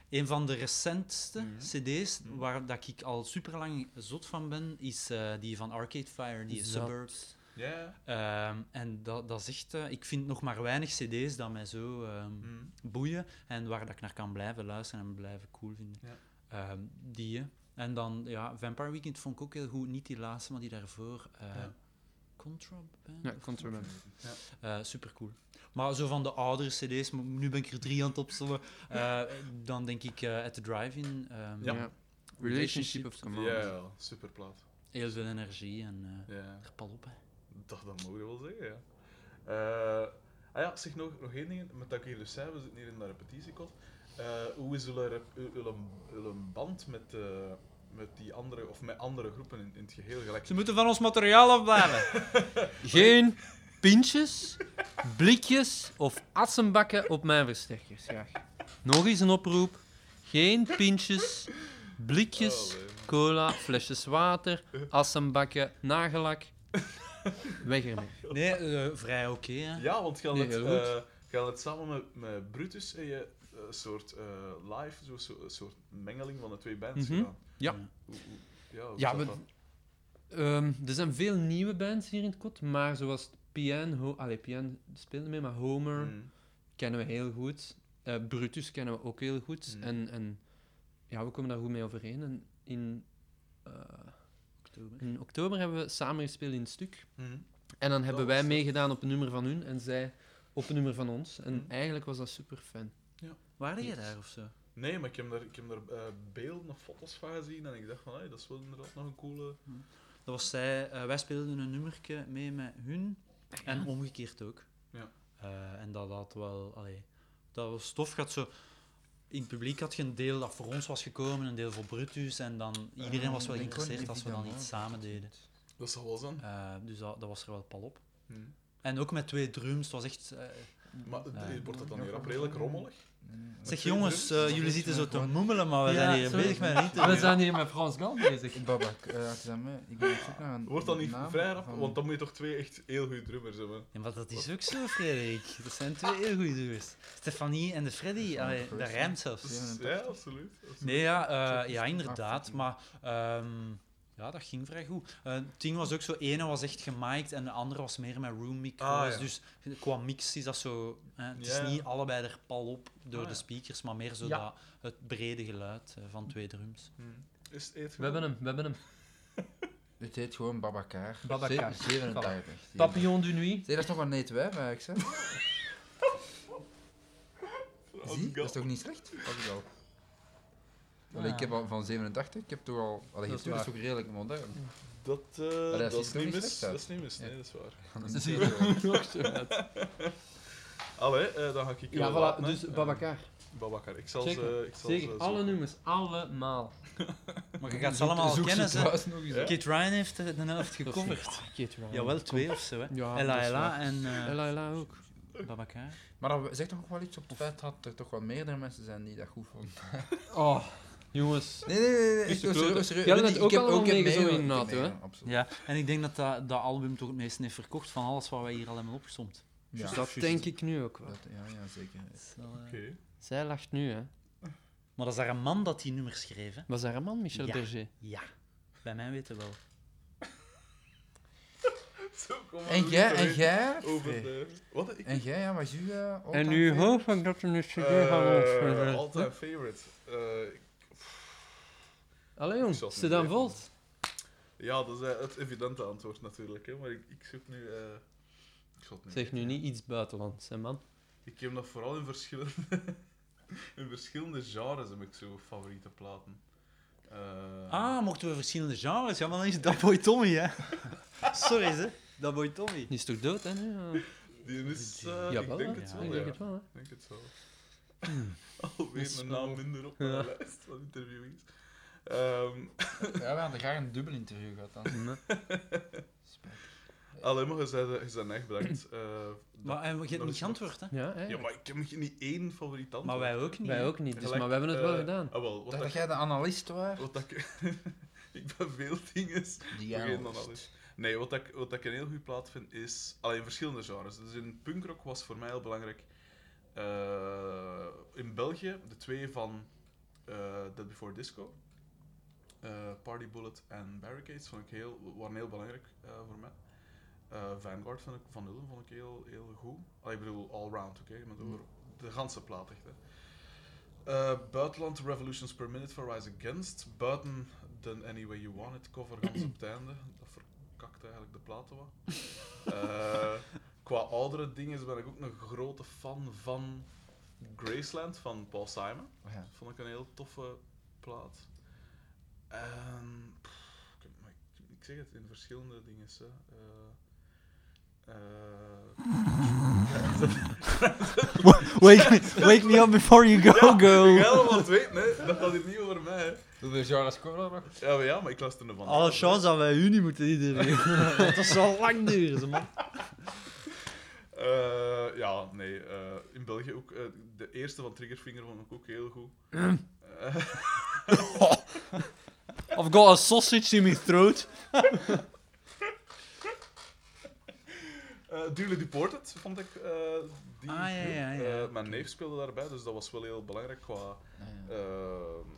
Speaker 2: een van de recentste
Speaker 4: Mhm.
Speaker 2: CD's waar dat ik al super lang zot van ben, is eh, die van Arcade Fire, die
Speaker 3: Zat.
Speaker 2: Suburbs.
Speaker 4: Ja.
Speaker 2: Ehm, en dat, dat is echt, eh, ik vind nog maar weinig CD's dat mij zo ehm,
Speaker 4: Mhm.
Speaker 2: boeien en waar dat ik naar kan blijven luisteren en blijven cool vinden.
Speaker 4: Ja.
Speaker 2: Ehm, die. hè. En dan, ja, Vampire Weekend vond ik ook heel goed. Niet die laatste, maar die daarvoor. eh
Speaker 4: Ja.
Speaker 2: Contraband?
Speaker 3: Ja,
Speaker 2: of-
Speaker 3: contraband.
Speaker 2: super cool. Eh, Maar zo van de oudere CD's, maar nu ben ik er drie aan het opstellen. eh, dan denk ik eh, At the Drive-In. ehm,
Speaker 4: Ja.
Speaker 3: Relationship of Command.
Speaker 4: Ja, ja, superplaat.
Speaker 2: Heel veel energie en eh
Speaker 4: Ja.
Speaker 2: er pal op. Hè.
Speaker 4: Dat, dat mogen we wel zeggen, ja. Eh, ah ja, zeg nog, nog één ding. Met dat ik hier dus zei, we zitten hier in de repetitiekot. Eh, hoe is uw, rep- uw, uw, uw band met, eh, met die andere, of met andere groepen in, in het geheel gelijk?
Speaker 2: Ze moeten van ons materiaal afblijven.
Speaker 3: Geen pintjes, blikjes of assenbakken op mijn versterkers, graag. Nog eens een oproep. Geen pintjes, blikjes,
Speaker 4: Allee.
Speaker 3: cola, flesjes water, assenbakken, nagelak. Weg ermee.
Speaker 2: nee, eh, vrij oké. hè.
Speaker 4: Ja, want gaan
Speaker 3: Nee,
Speaker 4: het,
Speaker 3: heel goed.
Speaker 4: eh, je had het samen met, met Brutus heb je een soort eh, live, zo, zo, een soort mengeling van de twee bands
Speaker 3: Mhm.
Speaker 4: gedaan.
Speaker 3: Ja.
Speaker 4: Hoe- hoe- ja, hoe
Speaker 3: Ja,
Speaker 4: zat
Speaker 3: we-
Speaker 4: dat?
Speaker 3: Ehm, er zijn veel nieuwe bands hier in het kot, maar zoals Pian, Ho Allee, Pian speelde mee, maar Homer
Speaker 4: Mhm.
Speaker 3: kennen we heel goed. Eh, Brutus kennen we ook heel goed.
Speaker 4: Mm.
Speaker 3: En, en ja, we komen daar goed mee overeen. En in, eh, in oktober hebben we samen gespeeld in het stuk.
Speaker 4: Mhm.
Speaker 3: En dan hebben
Speaker 4: was
Speaker 3: wij
Speaker 4: het.
Speaker 3: meegedaan op een nummer van hun en zij op een nummer van ons. En
Speaker 4: Mhm.
Speaker 3: eigenlijk was dat super fijn.
Speaker 2: Waarde jij daar of zo?
Speaker 4: Nee, maar ik heb daar, ik heb daar eh, beelden of foto's van gezien en ik dacht van, hey, dat is wel inderdaad nog een coole...
Speaker 2: Dat was zij, eh, wij speelden een nummerke mee met hun en omgekeerd ook.
Speaker 4: Ja.
Speaker 2: Eh, en dat had wel, allee, dat was tof. Je had zo, in het publiek had je een deel dat voor ons was gekomen, een deel voor Brutus. En dan iedereen was wel
Speaker 1: Ik kon
Speaker 2: geïnteresseerd
Speaker 1: niet
Speaker 2: als we dan
Speaker 1: vinden,
Speaker 2: iets
Speaker 1: hoor.
Speaker 2: samen deden.
Speaker 4: Dat zal wel zijn.
Speaker 2: Eh, dus dat, dat was er wel pal op.
Speaker 4: Mhm.
Speaker 2: En ook met twee drums, het was echt. eh,
Speaker 4: Maar
Speaker 2: Ja.
Speaker 4: eh, wordt dat dan hier ook redelijk rommelig?
Speaker 2: zeg
Speaker 4: twee
Speaker 2: jongens,
Speaker 4: drums?
Speaker 2: eh, jullie zitten zo te moemelen, maar Oh, we zijn hier
Speaker 3: sorry.
Speaker 2: bezig met niet.
Speaker 3: We zijn hier met Frans Gal bezig.
Speaker 1: Ik Babak, eh, het is aan mij. Ik ben op zoek naar een
Speaker 4: Wordt dat niet
Speaker 1: naam
Speaker 4: vrij rap?
Speaker 1: van-
Speaker 4: Want dan moet je toch twee echt heel goede drummers hebben.
Speaker 2: Ja, maar dat is ook zo, Frederik. Dat zijn twee heel goede duurs. Stefanie en de Freddy,
Speaker 1: Ja,
Speaker 2: allee,
Speaker 1: goed,
Speaker 2: dat
Speaker 1: hè.
Speaker 2: rijmt zelfs.
Speaker 4: Dus,
Speaker 1: 87.
Speaker 4: ja, absoluut. absoluut.
Speaker 2: Nee, ja, eh,
Speaker 1: Check is
Speaker 2: ja
Speaker 1: de
Speaker 2: inderdaad.
Speaker 1: afzetting.
Speaker 2: Maar ehm, ja, dat ging vrij goed. Eh, Het ding was ook zo, ene was echt gemiked en de andere was meer met room micro's.
Speaker 4: Ah, ja.
Speaker 2: Dus qua mix is dat zo... eh, het
Speaker 4: Ja.
Speaker 2: is niet allebei er pal op door
Speaker 4: Ah,
Speaker 2: de
Speaker 4: ja.
Speaker 2: speakers, maar meer zo
Speaker 3: Ja.
Speaker 2: dat, het brede geluid eh, van twee drums.
Speaker 4: Mhm. Is het eet
Speaker 3: We hebben hem, we hebben hem.
Speaker 1: Het heet gewoon Babakar.
Speaker 3: Babacar.
Speaker 1: Ze- 87.
Speaker 3: Papillon du Nuit.
Speaker 1: Zeg, dat is nog wel net wijf, eigenlijk,
Speaker 4: Oh,
Speaker 1: zeg. Zie, dat is toch niet slecht? Dat is al. Allee,
Speaker 2: Ja.
Speaker 1: ik heb al van 87, ik heb toch al... Allee,
Speaker 3: Dat
Speaker 1: dat
Speaker 3: is
Speaker 1: is toch
Speaker 3: waar.
Speaker 1: redelijk modern.
Speaker 4: Dat, eh,
Speaker 1: dat
Speaker 4: dat,
Speaker 1: ziet
Speaker 4: is
Speaker 1: er
Speaker 4: niet
Speaker 1: niet
Speaker 4: mis.
Speaker 1: slecht uit.
Speaker 4: Dat is niet mis, nee,
Speaker 1: Ja.
Speaker 4: dat is waar.
Speaker 3: Ze zien er ook zo uit.
Speaker 4: Allee, eh, dan ga ik
Speaker 3: Ja,
Speaker 4: eh,
Speaker 3: voilà,
Speaker 4: laten, hè.
Speaker 3: dus
Speaker 4: Eh,
Speaker 3: Babacar.
Speaker 4: Babacar, ik zal
Speaker 3: Zeker,
Speaker 4: ze... Ik zal
Speaker 3: Zeker,
Speaker 4: ze
Speaker 3: alle
Speaker 4: zoeken.
Speaker 3: nummers, allemaal.
Speaker 2: Maar je gaat ze allemaal
Speaker 1: Zoek ze
Speaker 2: kennen. hè.
Speaker 1: thuis nog eens op.
Speaker 2: Kit Ryan heeft eh, de de helft gecoverd. Jawel, twee of zo. Hè.
Speaker 3: Ja, dat
Speaker 2: Ella
Speaker 3: is
Speaker 2: Ella
Speaker 3: waar.
Speaker 2: en eh,
Speaker 3: Ella Ella ook.
Speaker 2: Babacar.
Speaker 1: Maar dat zegt toch ook wel iets op het feit dat er toch wel meerdere mensen zijn die dat goed vonden.
Speaker 3: Oh, Jongens.
Speaker 1: Nee, nee, nee. nee.
Speaker 3: Echt
Speaker 1: serieus,
Speaker 3: kloten.
Speaker 1: serieus.
Speaker 3: Jij had
Speaker 1: Weet
Speaker 3: het
Speaker 1: je, ik
Speaker 3: ook
Speaker 1: heb
Speaker 3: allemaal
Speaker 1: ook een
Speaker 3: meegezogen
Speaker 1: meegewerkt-
Speaker 3: in NATO, hè?
Speaker 1: meegewerkt, absoluut.
Speaker 2: Ja, en ik denk dat dat, dat album toch het meest heeft verkocht van alles wat wij hier al hebben opgesomd.
Speaker 1: Ja.
Speaker 3: Dus dat denk ik nu ook wel.
Speaker 1: Dat- ja, ja, zeker.
Speaker 2: Dat is wel, eh.
Speaker 4: Oké.
Speaker 3: Zij lacht nu, hè.
Speaker 2: Maar dat is daar een man dat die nummer schreef, hè?
Speaker 3: Was daar een man, Michel
Speaker 2: Ja.
Speaker 3: Berger?
Speaker 2: Ja. Bij mij weten wel.
Speaker 4: Zo, kom maar,
Speaker 1: En
Speaker 4: we
Speaker 1: jij,
Speaker 4: moeten
Speaker 1: en jij?
Speaker 4: Over
Speaker 1: Free?
Speaker 4: de... Wat? Ik...
Speaker 1: En jij, ja, was je uh,
Speaker 3: En nu hoop ik dat er een CD van ons
Speaker 4: Eh,
Speaker 3: verzet.
Speaker 4: all-time favorite. Eh,
Speaker 3: Allee,
Speaker 4: Ik zal
Speaker 3: jong.
Speaker 4: het
Speaker 3: Ze
Speaker 4: niet
Speaker 3: dan
Speaker 4: weten.
Speaker 3: volt.
Speaker 4: ja, dat is eh, het evidente antwoord natuurlijk, hè, maar ik, ik zoek nu... eh, ik zal het
Speaker 3: Zeg
Speaker 4: weten,
Speaker 3: nu
Speaker 4: ja.
Speaker 3: niet iets buitenlands, hè, man.
Speaker 4: Ik heb dat vooral in verschillende, in verschillende genres heb ik zo favoriete platen. Eh,
Speaker 2: Ah, mochten we verschillende genres? Ja, maar dan is het Dat Boy Tommy, hè? Sorry, hè? Dat Boy Tommy.
Speaker 3: Die is toch dood, hè? Nu? Eh,
Speaker 4: Die is... eh,
Speaker 3: Jawel,
Speaker 4: ik denk
Speaker 3: hè?
Speaker 4: het
Speaker 2: Ja,
Speaker 4: wel,
Speaker 3: ik
Speaker 4: ja.
Speaker 3: denk het wel, Hmm. hè.
Speaker 4: Ik denk het wel. Alweer een naam minder op
Speaker 3: Ja.
Speaker 4: mijn lijst van interviewings. Ehm
Speaker 1: Ja, we hadden graag een dubbel interview gehad dan.
Speaker 3: Nee.
Speaker 4: alleen maar, je zei- je zei echt bedankt. eh, dat-
Speaker 2: Maar en, je hebt
Speaker 4: dat
Speaker 2: niet
Speaker 4: is-
Speaker 2: geantwoord, hè?
Speaker 3: Ja, hè?
Speaker 4: Ja, maar ik heb nog niet één favoriet antwoord.
Speaker 2: Maar wij ook niet.
Speaker 3: Wij
Speaker 2: hè?
Speaker 3: ook niet, dus,
Speaker 4: Gelijk,
Speaker 3: maar we hebben het wel
Speaker 4: eh,
Speaker 3: gedaan.
Speaker 4: Ah, wel, wat
Speaker 1: Dat, dat
Speaker 4: dat-
Speaker 1: jij de analist was?
Speaker 4: Wat dat ik... ik ben veel dingen...
Speaker 1: Die
Speaker 4: Oké, dan
Speaker 1: analist.
Speaker 4: alles. Nee, wat ik, wat ik een heel goede plaat vind is. Alleen in verschillende genres. Dus in punkrock was voor mij heel belangrijk. eh, in België, de twee van eh Dead Before Disco, eh, Party Bullet en Barricades, vond ik heel, waren heel belangrijk eh, voor mij. Eh, Vanguard vond ik, van Ulm vond ik heel, heel goed. Allee, ik bedoel, allround, oké, maar door de ganse plaat echt. Hè. Eh, buitenland Revolutions Per Minute for Rise Against. Buiten de Any Way You Want It cover gans op het einde. Dat verkakt eigenlijk de platen wat. Eh, qua oudere dingen ben ik ook een grote fan van Graceland van Paul Simon.
Speaker 1: Ja.
Speaker 4: Vond ik een heel toffe plaat. En, pff, ik, maar ik, ik zeg het in verschillende dingen. Hè. Eh, eh,
Speaker 2: Wake, wake me up before you go,
Speaker 4: Ik
Speaker 2: girl.
Speaker 4: ga wel wat weten, hè. dat gaat hier niet over mij. Hè.
Speaker 1: Hoeveel genres komen er nog?
Speaker 4: Ja, maar, ja, maar ik luister ervan.
Speaker 2: Alle chance dat wij u niet moeten interviewen. dat zal lang duren, ze, man.
Speaker 4: Eh, ja, nee. eh, in België ook. eh, de eerste van Triggerfinger vond ik ook heel goed. Eh,
Speaker 2: I've got a sausage in my throat.
Speaker 4: eh Duly Deported vond ik. eh, die
Speaker 2: Ah, ja, ja, ja,
Speaker 4: eh,
Speaker 2: oké.
Speaker 4: mijn neef speelde daarbij, dus dat was wel heel belangrijk qua eh,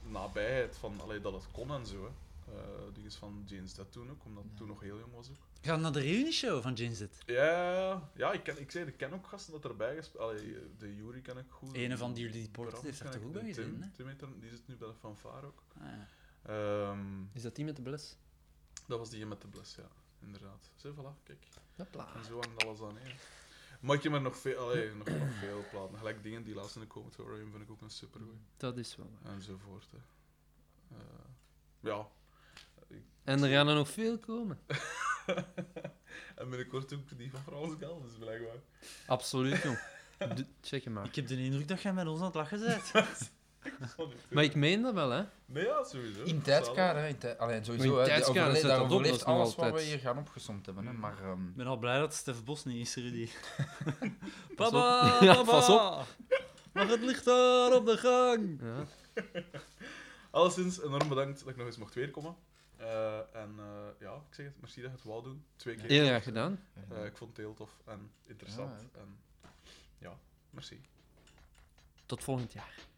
Speaker 4: nabijheid. Van, allee, dat het kon en zo. Hè. Eh dingen van James dat toen ook, omdat ik toen nog heel jong was. Ook.
Speaker 2: Ik ga naar de reunieshow van Jane Zit.
Speaker 4: Ja, ja ik, ken, ik zei, ik ken ook gasten dat erbij gespeeld. Allee, de Jury ken ik goed.
Speaker 2: Ene van Duly Deported
Speaker 4: Bram
Speaker 2: heeft daar
Speaker 4: ken
Speaker 2: toch
Speaker 4: ik,
Speaker 2: ook bij
Speaker 4: en Tim-
Speaker 2: gezeten, hè?
Speaker 4: Tim heet er- die zit nu bij de fanfare ook.
Speaker 2: Ah, ja.
Speaker 4: Ehm,
Speaker 3: Is dat die met de bles?
Speaker 4: Dat was die met de bles, ja. Inderdaad. Zo, voilà, kijk.
Speaker 3: Hopla.
Speaker 4: En zo hangt alles aan één. Maar ik heb er nog veel, allee, nog, nog veel platen. Gelijk dingen die laatst in de Comatorium vind ik ook een supergoed.
Speaker 3: Dat is wel waar.
Speaker 4: Enzovoort, hè. Eh, ja.
Speaker 3: En er gaan er nog veel komen.
Speaker 4: En binnenkort ook die van Frans Gal, dus blijkbaar.
Speaker 3: Absoluut, jong. D- Check hem maar.
Speaker 2: Ik heb de indruk dat jij met ons aan het lachen bent.
Speaker 3: Maar ik meen dat wel, hè?
Speaker 4: Nee, ja, sowieso.
Speaker 1: In
Speaker 4: Zalig.
Speaker 1: tijdskader, hè. In tij- Allee,
Speaker 3: Maar
Speaker 1: sowieso,
Speaker 3: in
Speaker 1: hè.
Speaker 3: tijdskader
Speaker 1: Tijdskader,
Speaker 3: zit
Speaker 1: daar
Speaker 3: dat op, dat
Speaker 1: overleeft
Speaker 3: is nog
Speaker 1: alles wat we
Speaker 3: altijd.
Speaker 1: hier gaan opgesomd hebben, hè. Maar... ehm,
Speaker 2: Ik ben al blij dat Stef Bos niet is, Rudy.
Speaker 3: Pas
Speaker 2: papa,
Speaker 3: op. Ja,
Speaker 2: papa.
Speaker 3: pas
Speaker 2: Mag het licht daar op de gang?
Speaker 3: Ja.
Speaker 4: Alleszins, enorm bedankt dat ik nog eens mocht weerkomen. Eh, en eh, ja, ik zeg het, merci dat je het wou doen. Twee keer.
Speaker 3: Heel graag gedaan.
Speaker 4: Eh, ik vond het heel tof en interessant.
Speaker 1: Ja,
Speaker 4: en ja merci.
Speaker 3: Tot volgend jaar.